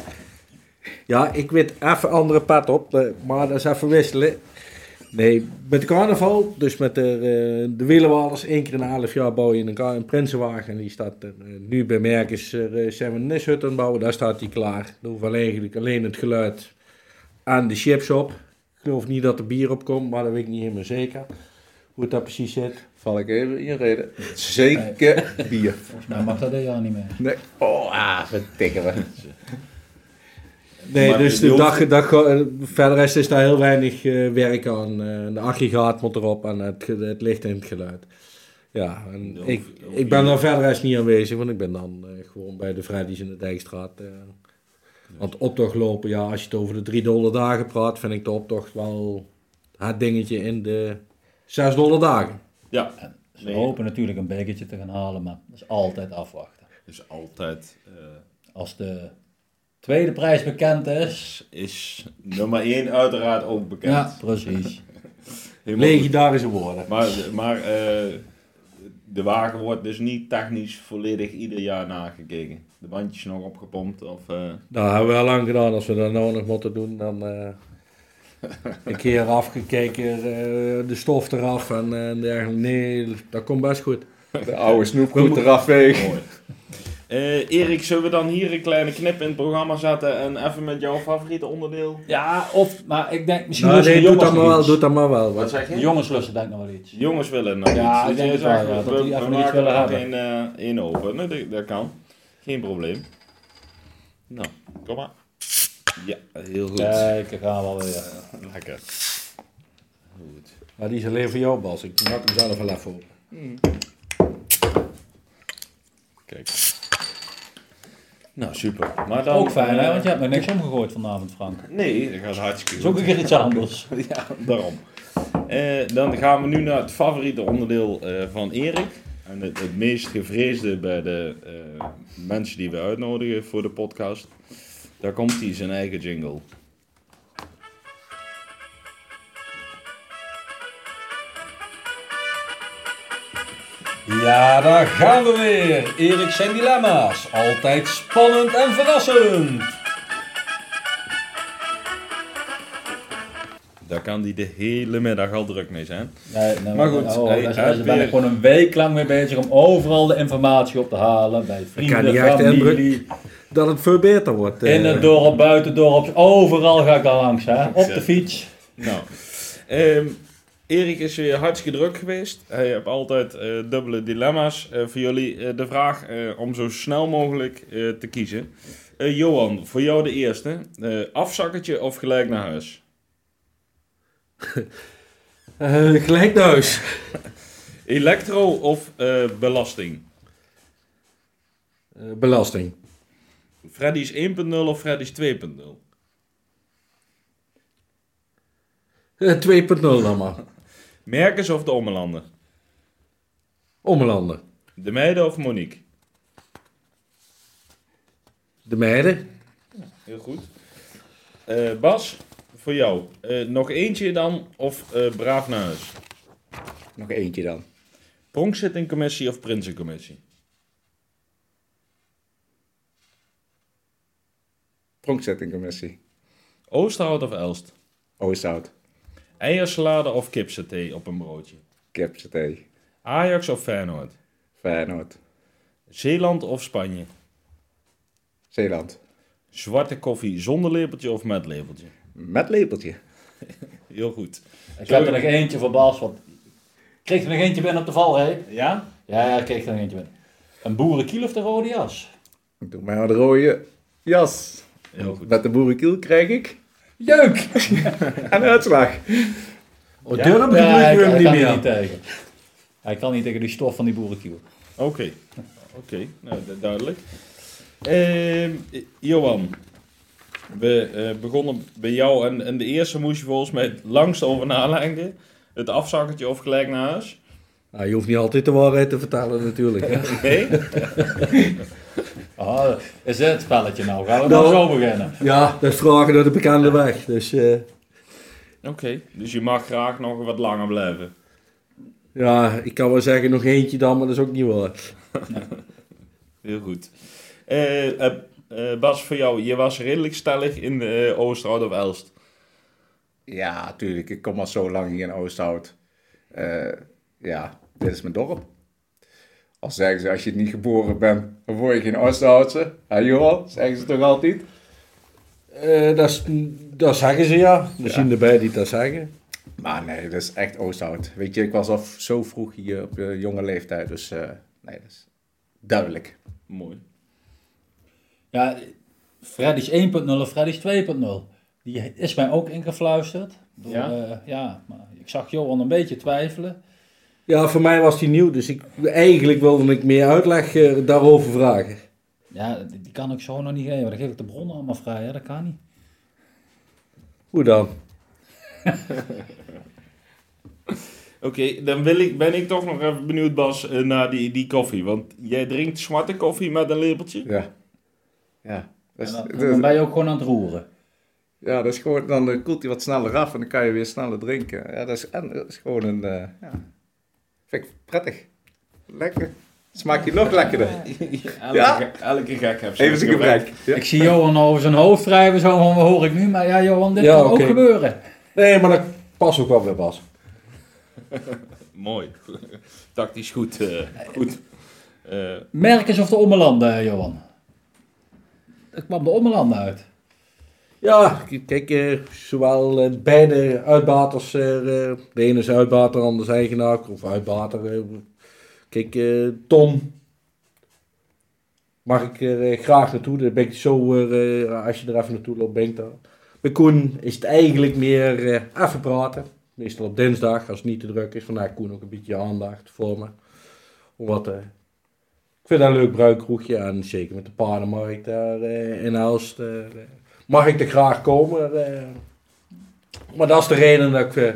Speaker 4: Ja, ik weet even andere pet op, eh, maar dat is even wisselen. Nee, met de carnaval, dus met de, eh de wielenwalers, één keer in een half jaar bouw je een, ka- een prinsenwagen. En die staat er, eh, nu bij Merkens, er, eh, zijn we een nishut aan het bouwen, daar staat die klaar. Er hoeft eigenlijk alleen het geluid aan de chips op. Ik geloof niet dat er bier op komt, maar dat weet ik niet helemaal zeker. Hoe dat precies zit.
Speaker 3: Val ik even inreden. Zeker bier.
Speaker 2: Volgens mij Nou, mag dat dit jaar niet meer.
Speaker 3: Nee. Oh, ah, vertikken
Speaker 4: (laughs)
Speaker 3: we.
Speaker 4: Nee,
Speaker 1: Maar
Speaker 4: dus
Speaker 1: die
Speaker 4: de
Speaker 1: hoeft-
Speaker 4: dag, dag, eh, verder is, is daar heel weinig eh, werk aan. Eh, de aggregaat moet erop en het, ge- het licht en het geluid. Ja, en
Speaker 1: Dan
Speaker 4: ik,
Speaker 1: hoef- hoef
Speaker 4: ik ben
Speaker 1: je-
Speaker 4: daar verder is niet aanwezig, want ik ben dan eh, gewoon bij de Vrijdies in de Dijkstraat. eh Want optocht lopen, ja, als je het over de 3 dollar dagen praat, vind ik de optocht wel het dingetje in de 6 dollar dagen.
Speaker 1: Ja,
Speaker 2: Ze
Speaker 1: Nee.
Speaker 2: hopen natuurlijk een bekertje te gaan halen, maar dat is altijd afwachten.
Speaker 1: dus altijd eh,
Speaker 2: Als de tweede prijs bekend is...
Speaker 1: is nummer 1 uiteraard ook bekend.
Speaker 2: Ja, precies.
Speaker 1: Helemaal goed.
Speaker 4: Legendarische woorden.
Speaker 1: Maar, maar eh, de wagen wordt dus niet technisch volledig ieder jaar nagekeken. De bandjes nog opgepompt of... eh,
Speaker 4: Nou, hebben we al lang gedaan. Als we dat nou nog moeten doen, dan
Speaker 2: (laughs)
Speaker 4: eh, een keer afgekeken, eh, de stof eraf en eh, dergelijke. Nee, dat komt best goed.
Speaker 3: De oude snoepgoed eraf weg.
Speaker 1: mooi. Eh, Erik, zullen we dan hier een kleine knip in het programma zetten en even met jouw favoriete onderdeel?
Speaker 2: (laughs) Ja, of... Maar ik denk, misschien
Speaker 4: Nou,
Speaker 2: lusten
Speaker 4: nee,
Speaker 2: de
Speaker 4: doe
Speaker 2: jongens
Speaker 4: dat maar
Speaker 2: nog
Speaker 4: wel,
Speaker 2: iets.
Speaker 4: doe dat maar wel.
Speaker 1: Wat
Speaker 4: want-
Speaker 1: zeg
Speaker 2: De
Speaker 1: je?
Speaker 2: jongens lusten denk ik nog wel iets.
Speaker 1: Jongens willen nog
Speaker 2: Ja,
Speaker 1: iets.
Speaker 2: ik denk
Speaker 1: jij
Speaker 2: het wel,
Speaker 1: zegt,
Speaker 2: ja,
Speaker 1: we,
Speaker 2: dat die
Speaker 1: we
Speaker 2: even
Speaker 1: maken
Speaker 2: iets willen
Speaker 1: er nog
Speaker 2: hebben.
Speaker 1: één, eh, één open. Nee, dat, dat kan. Geen probleem. Nou, kom maar. Ja, heel goed.
Speaker 2: Kijk, daar gaan we alweer.
Speaker 1: Lekker.
Speaker 4: Maar die is alleen voor jou, Bas. Ik maak hem zelf wel even op.
Speaker 1: Kijk. Nou, super. Maar dan,
Speaker 2: Ook fijn, hè?
Speaker 1: eh,
Speaker 2: Want je hebt nog niks omgegooid vanavond, Frank.
Speaker 1: Nee, dat gaat hartstikke
Speaker 2: Dat is ook een keer iets anders.
Speaker 1: Ja, daarom. Eh, dan gaan we nu naar het favoriete onderdeel eh, van Erik. En het, het meest gevreesde bij de eh, mensen die we uitnodigen voor de podcast. Daar komt hij, zijn eigen jingle.
Speaker 4: Ja, daar gaan we weer. Erik zijn dilemma's. Altijd spannend en verrassend.
Speaker 1: Daar kan hij de hele middag al druk mee zijn.
Speaker 2: Nee, nou,
Speaker 1: Maar goed, hij-
Speaker 2: nou, daar
Speaker 1: hij
Speaker 2: zijn- daar ben
Speaker 1: weer-
Speaker 2: ik gewoon een week lang mee bezig om overal de informatie op te halen. Bij vrienden,
Speaker 4: niet echt
Speaker 2: familie,
Speaker 4: Dat het veel beter wordt. eh.
Speaker 2: in het dorp, buiten het dorp. Overal ga ik daar langs, hè? Op de fiets.
Speaker 1: Nou, ehm, Erik is weer hartstikke druk geweest. Hij heeft altijd eh, dubbele dilemma's eh, voor jullie. Eh, de vraag eh, om zo snel mogelijk eh, te kiezen. Eh, Johan, voor jou de eerste. Eh afzakkertje of gelijk naar huis?
Speaker 4: Eh, gelijk naar huis.
Speaker 1: Elektro of eh, belasting?
Speaker 4: Eh, belasting.
Speaker 1: Freddy's 1.0 of Freddy's 2.0?
Speaker 4: Eh, 2.0 dan maar.
Speaker 1: Merkens of de Ommelanden?
Speaker 4: Ommelanden.
Speaker 1: De meiden of Monique?
Speaker 4: De meiden.
Speaker 1: Heel goed. Eh, Bas, voor jou. eh, nog eentje dan of eh, braaf naar huis?
Speaker 3: Nog eentje dan.
Speaker 1: Pronkzittingcommissie of Prinsencommissie?
Speaker 3: Pronkzettingcommissie.
Speaker 1: Oosterhout of Elst?
Speaker 3: Oosterhout.
Speaker 1: Eiersalade of kipsaté op een broodje?
Speaker 3: KFCT.
Speaker 1: Ajax of Feyenoord?
Speaker 3: Feyenoord.
Speaker 1: Zeeland of Spanje?
Speaker 3: Zeeland.
Speaker 1: Zwarte koffie zonder lepeltje of met lepeltje?
Speaker 3: Met lepeltje.
Speaker 1: Heel goed.
Speaker 2: Ik heb er nog eentje voor Bas, want ik kreeg er nog eentje binnen op de valreep.
Speaker 1: Ja?
Speaker 2: Ja, ja, ik kreeg er nog eentje binnen. Een boerenkiel of de rode jas?
Speaker 3: Doe mij maar de rode jas.
Speaker 1: Heel goed.
Speaker 3: Met de boerenkiel krijg ik
Speaker 1: (laughs)
Speaker 2: Jeuk!
Speaker 3: een uitslag.
Speaker 4: Oh, durf ik
Speaker 2: ik,
Speaker 4: hem
Speaker 2: ik
Speaker 4: niet
Speaker 2: kan hier
Speaker 4: meer.
Speaker 2: niet tegen. Hij kan niet tegen die stof van die boerenkiel.
Speaker 1: Oké. Oké, nou du- duidelijk. Ehm, eh, Johan, we eh, begonnen bij jou en, en de eerste moest je volgens mij het langst over nadenken. Het afzakkertje of gelijk naar huis.
Speaker 4: Ah, je hoeft niet altijd de waarheid te vertalen natuurlijk. (laughs) hè.
Speaker 1: Nee?
Speaker 2: Ah, is dit het spelletje nou? Gaan we
Speaker 4: Nou.
Speaker 2: nou zo beginnen?
Speaker 4: Ja, dat is vragen door de bekende weg. Dus eh,
Speaker 1: Oké, dus je mag graag nog wat langer blijven.
Speaker 4: ja, ik kan wel zeggen nog eentje dan, maar dat is ook niet waar.
Speaker 1: Heel goed. Eh, eh, eh, Bas, voor jou, je was redelijk stellig in eh Oosterhout of Elst.
Speaker 3: Ja, tuurlijk. Ik kom al zo lang hier in Oosthout. Eh, ja, dit is mijn dorp. Al zeggen ze, als je niet geboren bent, dan word je geen Oosthoutse. Hé Johan, zeggen ze toch altijd?
Speaker 4: Eh, dat, is, dat zeggen ze ja. Er zien erbij die dat zeggen.
Speaker 3: Maar nee, dat is echt Oosthout. Weet je, ik was al zo vroeg hier op eh, jonge leeftijd. Dus eh, nee, dat is duidelijk.
Speaker 1: Mooi.
Speaker 2: Ja, Freddy's 1.0 of Freddy's 2.0. Die is mij ook ingefluisterd. Door,
Speaker 1: Ja?
Speaker 2: ja? ja, maar ik zag Johan een beetje twijfelen.
Speaker 4: Ja, voor mij was die nieuw, dus ik, eigenlijk wilde ik meer uitleg eh, daarover vragen.
Speaker 2: Ja, die die kan ik zo nog niet geven. Dan geef ik de bronnen allemaal vrij. Ja, dat kan niet.
Speaker 4: Hoe dan?
Speaker 1: Oké, dan wil ik, ben ik toch nog even benieuwd, Bas, eh, naar die, die koffie. Want jij drinkt zwarte koffie met een (laughs) lepeltje.
Speaker 3: Ja. Ja. Dat
Speaker 2: En
Speaker 3: is,
Speaker 2: dan, en
Speaker 3: dat-
Speaker 2: dan ben je ook gewoon aan het roeren.
Speaker 3: ja, dat is gewoon, dan eh, koelt hij wat sneller af en dan kan je weer sneller drinken. Ja, dat is, en, dat is gewoon een, eh, ja. Vind ik prettig. Lekker. Smaakt je nog lekkerder.
Speaker 1: Elke,
Speaker 3: Ja.
Speaker 1: ge- elke gek heb
Speaker 3: Even een gebrek. Ja.
Speaker 2: Ik (laughs) zie Johan over zijn hoofd wrijven. Zo van, wat hoor ik nu? Maar ja, Johan, dit
Speaker 4: Ja,
Speaker 2: kan
Speaker 4: oké.
Speaker 2: ook gebeuren.
Speaker 4: Nee, maar dat past ook wel bij Bas.
Speaker 1: Mooi. (laughs) Tactisch goed. eh, goed. Eh,
Speaker 2: Merk eens of de Ommelanden, Johan. Er kwam de Ommelanden uit.
Speaker 4: Ja, k- kijk, eh, zowel eh, beide uitbaters, eh, eh, de ene is uitbater, de ander is eigenaar, of uitbater. eh, kijk, eh, Tom, mag ik er eh, graag naartoe, daar ben ik zo, eh, eh, als je er even naartoe loopt, ben ik daar. Bij Koen is het eigenlijk meer eh, even praten, meestal op dinsdag, als het niet te druk is. Vandaar Koen ook een beetje aandacht voor me. Omdat, eh, ik vind dat een leuk bruikroegje en zeker met de paardenmarkt daar eh, in Elst. eh, mag ik er graag komen. eh. maar dat is de reden dat ik eh,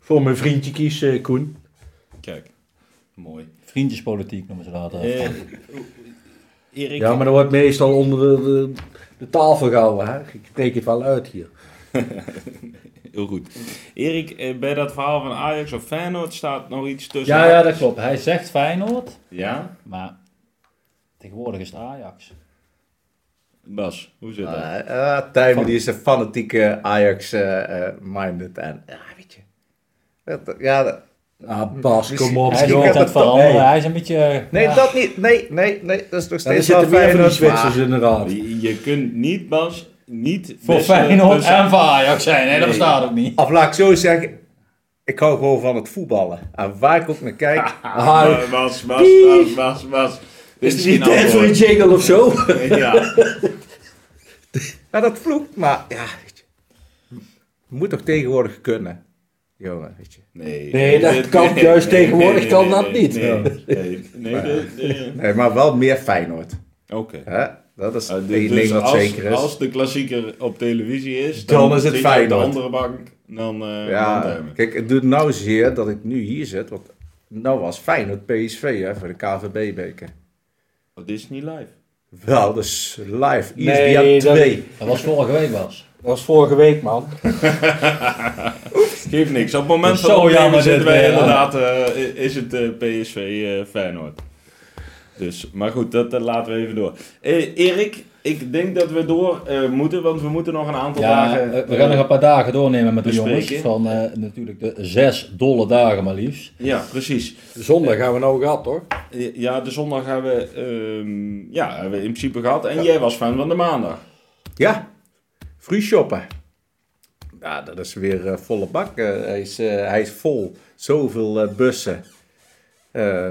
Speaker 4: voor mijn vriendje kies, eh, Koen.
Speaker 1: kijk. Mooi.
Speaker 2: Vriendjespolitiek noemen ze dat. altijd.
Speaker 1: Eh, Erik,
Speaker 4: Ja, maar dat wordt meestal onder de, de, de tafel gehouden. Hè? Ik spreek het wel uit hier.
Speaker 1: heel goed. Erik, eh, bij dat verhaal van Ajax of Feyenoord staat nog iets tussen.
Speaker 2: ja, ja, dat klopt. Hij zegt Feyenoord,
Speaker 1: Ja?
Speaker 2: maar tegenwoordig is het Ajax.
Speaker 1: Bas, hoe zit dat?
Speaker 3: Ah, ah, Tijmen die is een fanatieke Ajax-minded. en ja, weet je. Dat- dat- ja, dat-
Speaker 4: Ah, Bas, kom
Speaker 2: Hij is
Speaker 4: op.
Speaker 3: Misschien
Speaker 2: niet
Speaker 4: joh.
Speaker 2: aan
Speaker 3: kan
Speaker 2: het
Speaker 3: dat toch-
Speaker 2: veranderen.
Speaker 3: nee.
Speaker 2: Hij is een beetje... eh,
Speaker 3: nee,
Speaker 2: ja.
Speaker 3: dat niet. Nee, nee, nee. Dat is nog
Speaker 4: Ja, er
Speaker 3: steeds
Speaker 4: zitten
Speaker 3: wel
Speaker 4: weer van die
Speaker 3: Feyenoord, maar-
Speaker 4: Zwitsers inderdaad.
Speaker 1: Je, je kunt niet, Bas, niet...
Speaker 2: Voor
Speaker 1: wisselen
Speaker 2: Feyenoord
Speaker 1: tussen-
Speaker 2: en voor dus Ajax zijn. Nee, dat
Speaker 1: Nee.
Speaker 3: Ah.
Speaker 2: bestaat ook niet.
Speaker 3: Of laat ik zo zeggen. Ik hou gewoon van het voetballen. En waar ik ook naar
Speaker 4: (laughs)
Speaker 3: kijk.
Speaker 4: Ah,
Speaker 1: Mas, mas, mas, mas, mas. Dit
Speaker 4: is het niet
Speaker 1: geen
Speaker 4: tijd voor een
Speaker 1: antwoord.
Speaker 4: jingle of zo?
Speaker 1: Ja.
Speaker 3: Ja, nou, dat vloekt, maar ja, weet je. Het moet toch tegenwoordig kunnen, jongen, weet je.
Speaker 1: Nee,
Speaker 4: Nee, dat
Speaker 1: dit-
Speaker 4: kan juist tegenwoordig
Speaker 1: nee,
Speaker 4: kan
Speaker 1: nee,
Speaker 4: dat
Speaker 1: nee,
Speaker 4: niet.
Speaker 1: Nee, nee, nee, dit- nee.
Speaker 3: Nee, maar wel meer Feyenoord. (laughs)
Speaker 1: Oké.
Speaker 3: Hè? Dat is
Speaker 1: Eh,
Speaker 3: één
Speaker 1: dus-
Speaker 3: ding
Speaker 1: dus
Speaker 3: wat
Speaker 1: als,
Speaker 3: zeker is.
Speaker 1: als de klassieker op televisie is,
Speaker 3: Dan is het
Speaker 1: zit je op
Speaker 3: Feyenoord.
Speaker 1: de andere bank, dan eh dan
Speaker 3: ja,
Speaker 1: duimen.
Speaker 3: kijk, het doet nou zeer dat ik nu hier zit, want nou was Feyenoord PSV hè, voor de KVB-beker.
Speaker 1: Oh, dit is niet live.
Speaker 3: Wel, dus live, ESPN
Speaker 4: Nee, dat-
Speaker 3: 2.
Speaker 2: Dat was vorige week was.
Speaker 4: Dat was vorige week, man.
Speaker 1: Geeft niks. Op het moment
Speaker 2: Dat is
Speaker 1: van
Speaker 2: zo
Speaker 1: opnemen
Speaker 2: jammer dit
Speaker 1: zitten wij
Speaker 2: weer,
Speaker 1: inderdaad, eh, is het eh, PSV eh, Feyenoord. Dus, maar goed, dat eh, laten we even door. Eh, Erik, ik denk dat we door eh, moeten, want we moeten nog een aantal
Speaker 2: Ja,
Speaker 1: dagen...
Speaker 2: eh, we gaan nog een paar dagen doornemen met de
Speaker 1: bespreken.
Speaker 2: jongens. Van eh, natuurlijk de zes dolle dagen maar liefst.
Speaker 1: Ja, precies.
Speaker 4: Zondag gaan we nou gehad, hoor.
Speaker 1: Eh, Ja, de zondag hebben we, ehm, ja, hebben we in principe gehad. En jij was fan van de maandag.
Speaker 3: Ja, free shoppen. Nou, dat is weer eh, volle bak. Eh, hij, is, eh, hij is vol. Zoveel eh, bussen. Eh,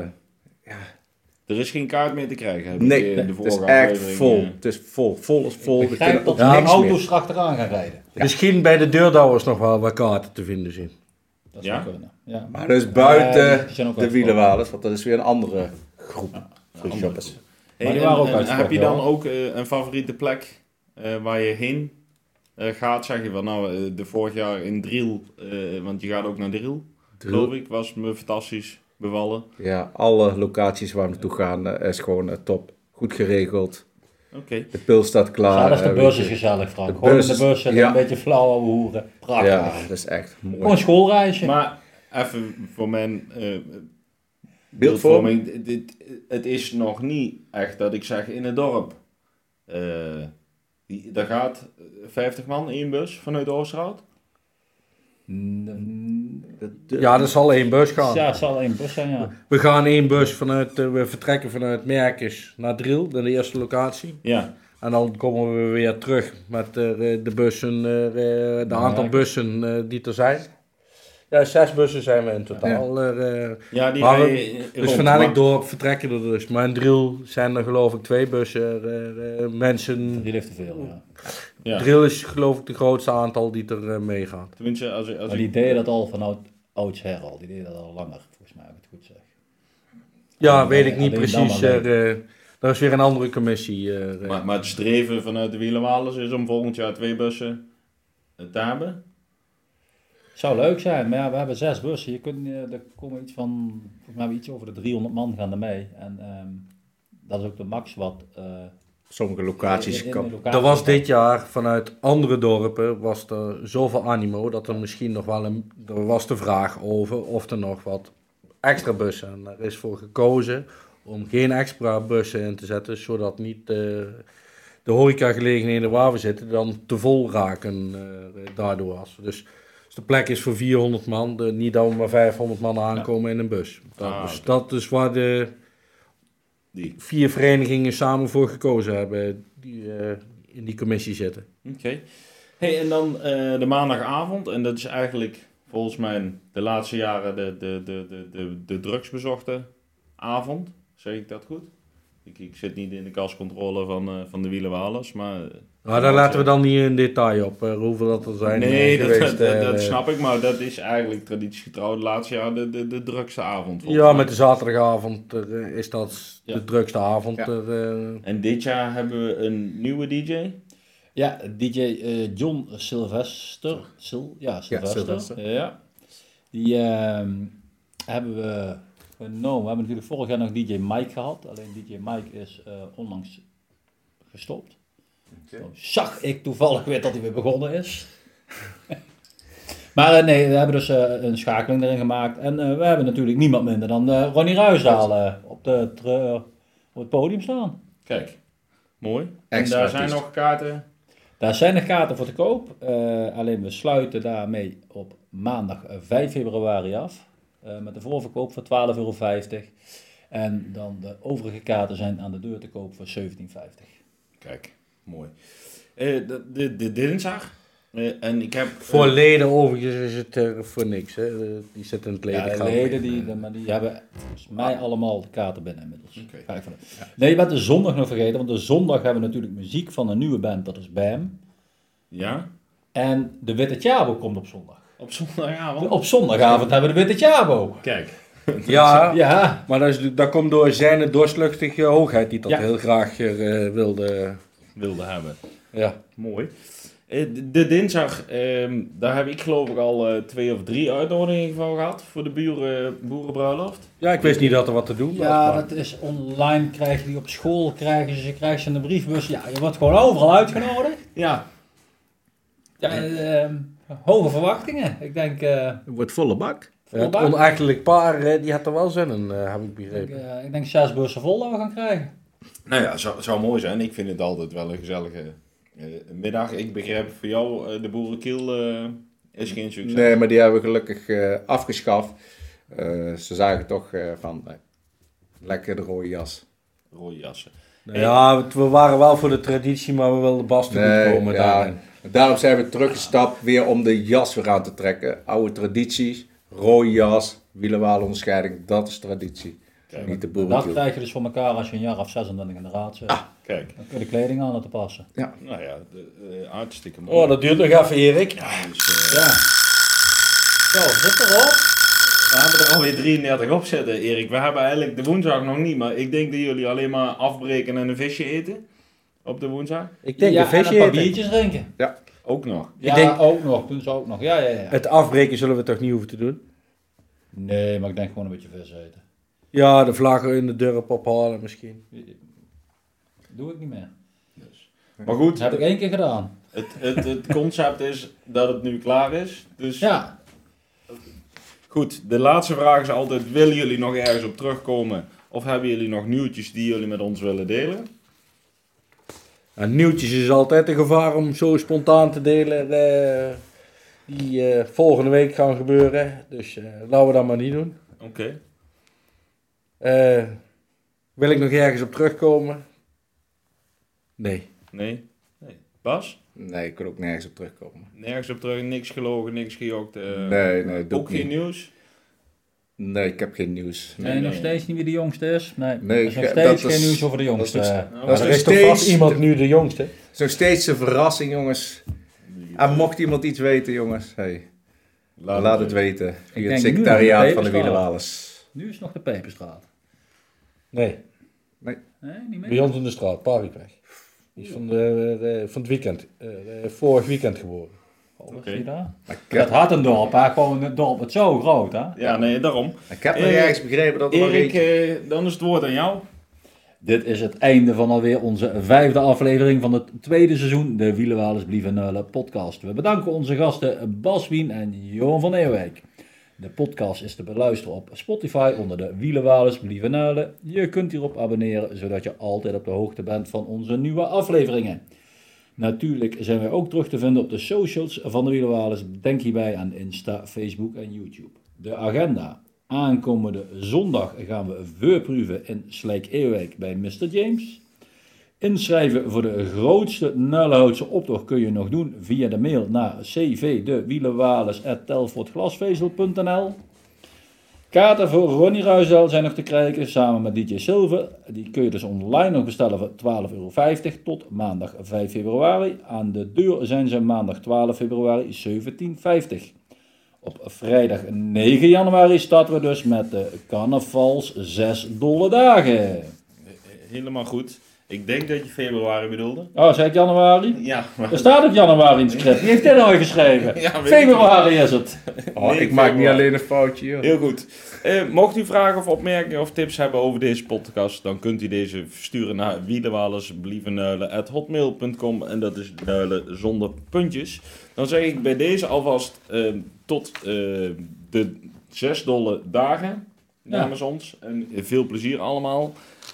Speaker 1: Er is geen kaart meer te krijgen. Heb
Speaker 3: nee,
Speaker 1: ik, eh, de
Speaker 3: het is
Speaker 1: vorige
Speaker 3: echt
Speaker 1: aflevering,
Speaker 3: vol.
Speaker 1: eh.
Speaker 3: Het is vol. Vol is vol.
Speaker 2: Ik
Speaker 3: Er kunnen
Speaker 2: begrijp dat
Speaker 3: ook
Speaker 2: er
Speaker 3: niks meer.
Speaker 2: auto's achteraan gaan rijden.
Speaker 4: Misschien bij de deurdouwers nog wel wat kaarten te vinden zijn.
Speaker 2: Dat
Speaker 1: Ja?
Speaker 2: zou kunnen. Ja.
Speaker 3: Maar dat is buiten
Speaker 2: Eh, die zijn ook
Speaker 3: de
Speaker 2: uitverkocht.
Speaker 3: wielenwalers, want dat is weer een andere groep free shoppers.
Speaker 1: Hey,
Speaker 2: Maar die
Speaker 1: en-
Speaker 2: waren ook
Speaker 1: en
Speaker 2: uitverkocht,
Speaker 1: heb je dan
Speaker 2: ja.
Speaker 1: ook eh, een favoriete plek eh, waar je heen eh, gaat? Zeg je van, nou, eh, de vorig jaar in Driel, eh, want je gaat ook naar Driel, geloof ik, was me fantastisch bevallen. Oké.
Speaker 3: Ja, alle locaties waar we naartoe gaan eh, is gewoon eh, top. Goed geregeld. De pil staat klaar.
Speaker 2: Zelfs de
Speaker 3: eh,
Speaker 2: beurs
Speaker 3: weet
Speaker 2: is
Speaker 3: je.
Speaker 2: gezellig, Frank.
Speaker 3: De
Speaker 2: Gewoon in
Speaker 3: beurs
Speaker 2: de
Speaker 3: is-
Speaker 2: beurs zitten,
Speaker 3: ja.
Speaker 2: een beetje flauw ouwe hoeren. Prachtig.
Speaker 3: Ja, dat is echt
Speaker 2: Gewoon
Speaker 3: mooi.
Speaker 2: een schoolreisje.
Speaker 1: Maar even voor mijn eh,
Speaker 3: Beeldvorming.
Speaker 1: Dit, dit- het is nog niet echt dat ik zeg in het dorp. Eh, die- daar gaat eh, 50 man in een bus vanuit Oosterhout.
Speaker 2: Mm,
Speaker 4: Ja, dat zal één bus gaan.
Speaker 2: Ja, het zal één bus zijn, ja.
Speaker 4: We gaan één bus vanuit, eh, we vertrekken vanuit Merkers naar Driel, de eerste locatie.
Speaker 1: Ja,
Speaker 4: En dan komen we weer terug met eh, de bussen, eh, eh, de aantal
Speaker 2: Ja.
Speaker 4: bussen eh, die er zijn. Ja, zes bussen zijn we in totaal. eh, eh,
Speaker 1: ja die
Speaker 4: Maar we-
Speaker 1: rij je rond,
Speaker 4: dus van
Speaker 1: maar-
Speaker 4: Elkdorp vertrekken er dus. Maar in Driel zijn er geloof ik twee bussen. eh, eh, mensen,
Speaker 2: Die leeft te veel, ja.
Speaker 1: Ja.
Speaker 4: Driel is geloof ik de grootste aantal die er eh, meegaat.
Speaker 1: Tenminste, als, ik- als
Speaker 2: Maar
Speaker 1: ik
Speaker 2: die deden dat al van oud, oudsher al. Die deden dat al langer, volgens mij, als ik het goed zeg.
Speaker 4: Ja,
Speaker 2: Alleen-
Speaker 4: weet ik niet
Speaker 2: alleen
Speaker 4: precies. eh,
Speaker 2: dan alleen.
Speaker 4: Er is weer een andere commissie. eh, eh.
Speaker 1: Maar, maar het streven vanuit de Wielenwalers is om volgend jaar twee bussen eh, te hebben.
Speaker 2: Zou leuk zijn, maar ja, we hebben zes bussen. Je kunt, eh, er komen iets van, volgens mij hebben we iets over de 300 man gaan er mee. En ehm, dat is ook de max wat... eh
Speaker 3: Sommige
Speaker 2: in-
Speaker 3: locaties
Speaker 2: in de
Speaker 3: kan.
Speaker 2: locatie
Speaker 4: Er was
Speaker 2: staat.
Speaker 4: dit jaar vanuit andere dorpen was er zoveel animo dat er misschien nog wel een, er was de vraag over of er nog wat extra bussen. En er is voor gekozen om geen extra bussen in te zetten, zodat niet eh, de horecagelegenheden waar we zitten dan te vol raken eh, daardoor. Als. we Dus, dus de plek is voor 400 man, de, niet dat we maar 500 man aankomen in een bus. Dat,
Speaker 1: Ah,
Speaker 4: is, dat is waar de
Speaker 1: Die.
Speaker 4: vier verenigingen samen voor gekozen hebben die eh, in die commissie zitten.
Speaker 1: Oké. Hey, en dan eh, de maandagavond. En dat is eigenlijk volgens mij de laatste jaren de, de, de, de, de, de drugsbezochte avond. Zeg ik dat goed? Ik, ik zit niet in de kascontrole van, eh, van de Wielenwalers, maar... eh,
Speaker 4: Nou, daar laten we dan niet in detail op eh, hoeveel dat er zijn
Speaker 1: nee,
Speaker 4: eh,
Speaker 1: dat,
Speaker 4: geweest.
Speaker 1: dat,
Speaker 4: eh,
Speaker 1: dat snap ik, maar dat is eigenlijk traditiegetrouw de laatste jaar de, de, de drukste avond. volgens
Speaker 4: Ja,
Speaker 1: mij.
Speaker 4: met de zaterdagavond eh, is dat
Speaker 1: Ja.
Speaker 4: de drukste avond.
Speaker 3: Ja.
Speaker 4: er, eh.
Speaker 1: En dit jaar hebben we een nieuwe DJ.
Speaker 2: Ja, DJ eh, John Sylvester. Sil, ja, Sylvester. Ja,
Speaker 3: Sylvester.
Speaker 2: Die ehm, hebben we genomen. We hebben natuurlijk vorig jaar nog DJ Mike gehad. Alleen DJ Mike is eh, onlangs gestopt. Zo zag ik toevallig weer dat hij weer begonnen is. (laughs) maar eh, nee, we hebben dus eh, een schakeling erin gemaakt. En eh, we hebben natuurlijk niemand minder dan eh, Ronnie Ruisdaal eh, op, de, tr- op het podium staan.
Speaker 1: Kijk, mooi. en
Speaker 3: Extra
Speaker 1: daar zijn
Speaker 3: artiest.
Speaker 1: nog kaarten.
Speaker 2: Daar zijn nog kaarten voor te koop. eh, alleen we sluiten daarmee op maandag eh, 5 februari af. eh, met de voorverkoop voor 12,50 euro. En dan de overige kaarten zijn aan de deur te koop voor 17,50.
Speaker 1: Kijk, mooi. Eh, de, de, de dinsdag Eh, en ik heb...
Speaker 4: Voor leden overigens is het eh, voor niks. Hè? Eh, Die zitten in het
Speaker 2: Ja,
Speaker 4: ledenkamp.
Speaker 2: de leden die, de- maar die hebben volgens mij allemaal de kaarten binnen inmiddels.
Speaker 1: Oké.
Speaker 2: Ga ik vanuit. Nee, je bent de zondag nog vergeten, want de zondag hebben we natuurlijk muziek van een nieuwe band, dat is BAM.
Speaker 1: Ja?
Speaker 2: En de Witte Tjabo komt op zondag.
Speaker 1: Op zondagavond?
Speaker 2: Op zondagavond hebben we de Witte Tjabo.
Speaker 1: Kijk.
Speaker 4: Ja,
Speaker 2: Ja,
Speaker 4: maar dat, is, dat komt door zijn doorslachtige hoogheid die dat
Speaker 2: Ja.
Speaker 4: heel graag eh, wilde.
Speaker 1: Wilde hebben.
Speaker 4: Ja.
Speaker 1: Mooi. Eh, de- De dinsdag, ehm, daar heb ik geloof ik al eh, twee of drie uitnodigingen van gehad voor de buren, boerenbruiloft.
Speaker 4: ja, ik wist niet dat er wat te doen was.
Speaker 2: ja
Speaker 4: maar-
Speaker 2: dat is online, krijgen die op school, krijgen ze, krijgen ze in de briefbus. Ja, je wordt gewoon overal uitgenodigd.
Speaker 1: Ja,
Speaker 2: Ja, eh, ehm, hoge verwachtingen. Ik denk, eh,
Speaker 3: Het wordt volle bak.
Speaker 4: Het onachtelijk paar, eh, die had er wel zin in, eh, heb ik
Speaker 2: ik,
Speaker 4: begrepen.
Speaker 2: eh, ik denk zes bussen vol dat we gaan krijgen.
Speaker 1: nou ja, zou, zou mooi zijn. Ik vind het altijd wel een gezellige eh, middag. Ik begrijp voor jou, eh, de boerenkiel eh, is geen succes.
Speaker 3: Nee, maar die hebben we gelukkig eh, afgeschaft. Eh, ze zagen toch eh, van, eh, lekker de rode jas.
Speaker 1: Rode jassen.
Speaker 4: Nou ja, het- we waren wel voor de traditie, maar we wilden Bas te
Speaker 3: Nee,
Speaker 4: goed komen
Speaker 3: ja.
Speaker 4: daarin.
Speaker 3: Daarom zijn we teruggestapt weer om de jas weer aan te trekken. Oude tradities, rode jas, wielenwalen onderscheiding, dat is traditie.
Speaker 1: Kijk,
Speaker 3: Niet de
Speaker 2: Dat
Speaker 3: boerenkiel.
Speaker 2: krijg je dus voor elkaar als je een jaar of 26 in de raad zit.
Speaker 4: Ah.
Speaker 1: Kijk,
Speaker 2: Dan kun je de kleding aan laten passen.
Speaker 1: nou ja, de, eh hartstikke mooi.
Speaker 4: Oh, dat duurt nog even, Erik.
Speaker 1: Dus, eh,
Speaker 2: Ja. Zo, zit erop.
Speaker 1: We hebben er alweer 33 op zitten, Erik. We hebben eigenlijk de woensdag nog niet, maar ik denk dat jullie alleen maar afbreken en een visje eten. Op de woensdag.
Speaker 4: Ik denk
Speaker 2: ja,
Speaker 4: een
Speaker 2: en
Speaker 4: visje
Speaker 2: een paar
Speaker 4: eten.
Speaker 2: biertjes drinken.
Speaker 1: Ook nog.
Speaker 2: Ja,
Speaker 4: denk-
Speaker 2: ook nog. Doen ze ook nog. Ja, ja, ja.
Speaker 4: Het afbreken zullen we toch niet hoeven te doen?
Speaker 2: Nee, maar ik denk gewoon een beetje vis eten.
Speaker 4: Ja, de vlaggen in de dorp ophalen misschien.
Speaker 2: Doe ik niet meer.
Speaker 1: Maar goed,
Speaker 2: Dat heb ik één keer gedaan.
Speaker 1: het, het, het concept is dat het nu klaar is. Dus
Speaker 2: Ja.
Speaker 1: goed, de laatste vraag is altijd: willen jullie nog ergens op terugkomen? Of hebben jullie nog nieuwtjes die jullie met ons willen delen?
Speaker 4: En nieuwtjes is altijd een gevaar om zo spontaan te delen eh, die eh, volgende week gaan gebeuren. Dus eh, laten we dat maar niet doen.
Speaker 1: Oké.
Speaker 4: Eh, wil ik nog ergens op terugkomen? Nee.
Speaker 1: Nee? nee. Bas?
Speaker 3: Nee, ik kan ook nergens op terugkomen.
Speaker 1: Nergens op terug, niks gelogen, niks gejokt. eh,
Speaker 3: nee, nee, doe
Speaker 1: ook
Speaker 3: ik
Speaker 1: geen
Speaker 3: niet.
Speaker 1: nieuws.
Speaker 3: Nee, ik heb geen nieuws.
Speaker 2: Nee,
Speaker 1: nee,
Speaker 2: nog
Speaker 1: nee.
Speaker 2: steeds niet wie de jongste is. Nee,
Speaker 3: Nee,
Speaker 2: er is nog
Speaker 3: ja,
Speaker 2: steeds
Speaker 3: dat
Speaker 2: geen
Speaker 3: is-
Speaker 2: nieuws over de jongste.
Speaker 3: dat is-
Speaker 1: Nou,
Speaker 3: Dat
Speaker 4: Maar
Speaker 3: is
Speaker 4: er
Speaker 3: nog
Speaker 4: is toch vast
Speaker 3: steeds-
Speaker 4: iemand nu de jongste?
Speaker 3: Zo steeds een verrassing, jongens. En mocht iemand iets weten, jongens, hey, laat, het weten.
Speaker 2: denk
Speaker 3: Via het
Speaker 2: nu nog
Speaker 3: secretariaat
Speaker 2: de
Speaker 3: van de
Speaker 2: Peperstraat.
Speaker 3: Wielenwalers.
Speaker 2: Nu is nog de Peperstraat.
Speaker 4: Nee,
Speaker 2: Nee, niet meer.
Speaker 4: bij ons in de straat, Parikweg. Die is van, de, eh, van het weekend, eh, eh, vorig weekend geboren.
Speaker 2: Oh,
Speaker 1: Oké.
Speaker 2: zie je daar?
Speaker 3: Maar ik
Speaker 2: Dat
Speaker 3: heb,
Speaker 2: had een dorp, hè. Gewoon een dorp. Het is zo groot, hè.
Speaker 1: Ja, nee, daarom.
Speaker 3: ik heb nog
Speaker 1: Eh,
Speaker 3: ergens begrepen dat er nog
Speaker 1: Erik,
Speaker 3: eentje-
Speaker 1: eh, dan is het woord aan jou.
Speaker 2: Dit is het einde van alweer onze vijfde aflevering van het tweede seizoen de Wielenwalers Blieven Nuilen podcast. We bedanken onze gasten Bas Wien en Johan van Eeuwijk. De podcast is te beluisteren op Spotify onder de Wielenwalers Blieven Nuilen. Je kunt hierop abonneren zodat je altijd op de hoogte bent van onze nieuwe afleveringen. Natuurlijk zijn wij ook terug te vinden op de socials van de Wielerwalers. Denk hierbij aan Insta, Facebook en YouTube. De agenda. Aankomende zondag gaan we veurproeven in Slijk-Eeuwijk bij Mr. James. Inschrijven voor de grootste Nuilenhoutse optocht kun je nog doen via de mail naar cvdewielenwalers.telfortglasvezel.nl Kaarten voor Ronnie Ruizel zijn nog te krijgen samen met DJ Silver. Die kun je dus online nog bestellen voor 12,50 euro tot maandag 5 februari. Aan de deur zijn ze maandag 12 februari 17,50. Op vrijdag 9 januari starten we dus met de carnavals 6 dolle dagen.
Speaker 1: Helemaal goed. Ik denk dat je februari bedoelde.
Speaker 2: Oh, zei ik januari?
Speaker 1: (laughs) Ja,
Speaker 2: Er staat ook januari in het script. Wie heeft dit nou weer geschreven?
Speaker 1: Ja, weet ik
Speaker 2: Februari is het.
Speaker 3: Oh,
Speaker 1: eh, nee,
Speaker 3: ik maak niet
Speaker 1: februari.
Speaker 3: alleen een foutje, joh.
Speaker 1: heel goed. Eh, mocht u vragen of opmerkingen of tips hebben over deze podcast, dan kunt u deze sturen naar wielewalersblievennuilen.hotmail.com en dat is nuilen zonder puntjes. Dan zeg ik bij deze alvast eh, tot eh, de zes dolle dagen namens ons. En veel plezier allemaal.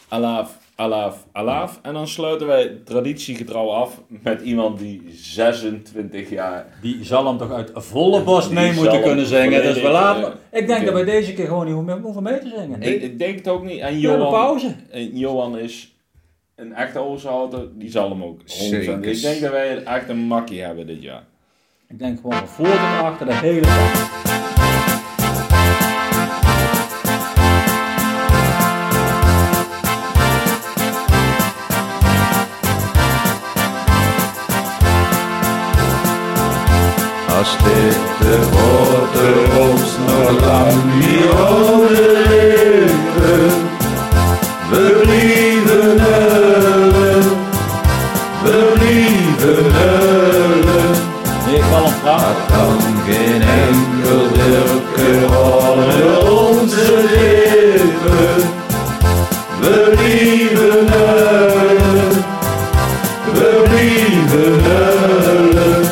Speaker 1: Alaaf, alaaf, alaaf. En dan sluiten wij traditiegetrouw af met iemand die 26 jaar
Speaker 2: Die zal hem toch uit volle bos mee
Speaker 1: Die zal
Speaker 2: moeten
Speaker 1: hem
Speaker 2: kunnen zingen. Dus we
Speaker 1: volledig,
Speaker 2: laten.
Speaker 1: eh,
Speaker 2: Ik denk dat
Speaker 1: oké.
Speaker 2: wij deze keer gewoon niet hoeven- hoeven mee te zingen.
Speaker 1: Ik, ik denk het ook niet. En
Speaker 2: We hebben
Speaker 1: Johan,
Speaker 2: pauze.
Speaker 1: en Johan is een echte Oosterhouder, die zal hem ook 100%.
Speaker 3: Zeker.
Speaker 1: Ik denk dat wij echt een makkie hebben dit jaar.
Speaker 2: Ik denk gewoon van voor tot achter de hele dag.
Speaker 5: Als dit de woorden ons nog lang niet overleven, we blijven huilen, we blijven huilen.
Speaker 2: Nee, wel een vraag.
Speaker 5: Kan geen enkel wilke worden onze leven, we blijven huilen, we blijven huilen.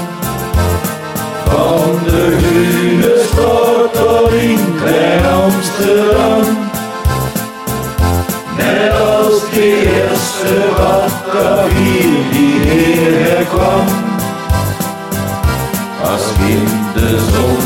Speaker 5: Van de Grune Stad tot in Klein Amsterdam. Net als die eerste waterwiel die hier kwam. Als kind de zon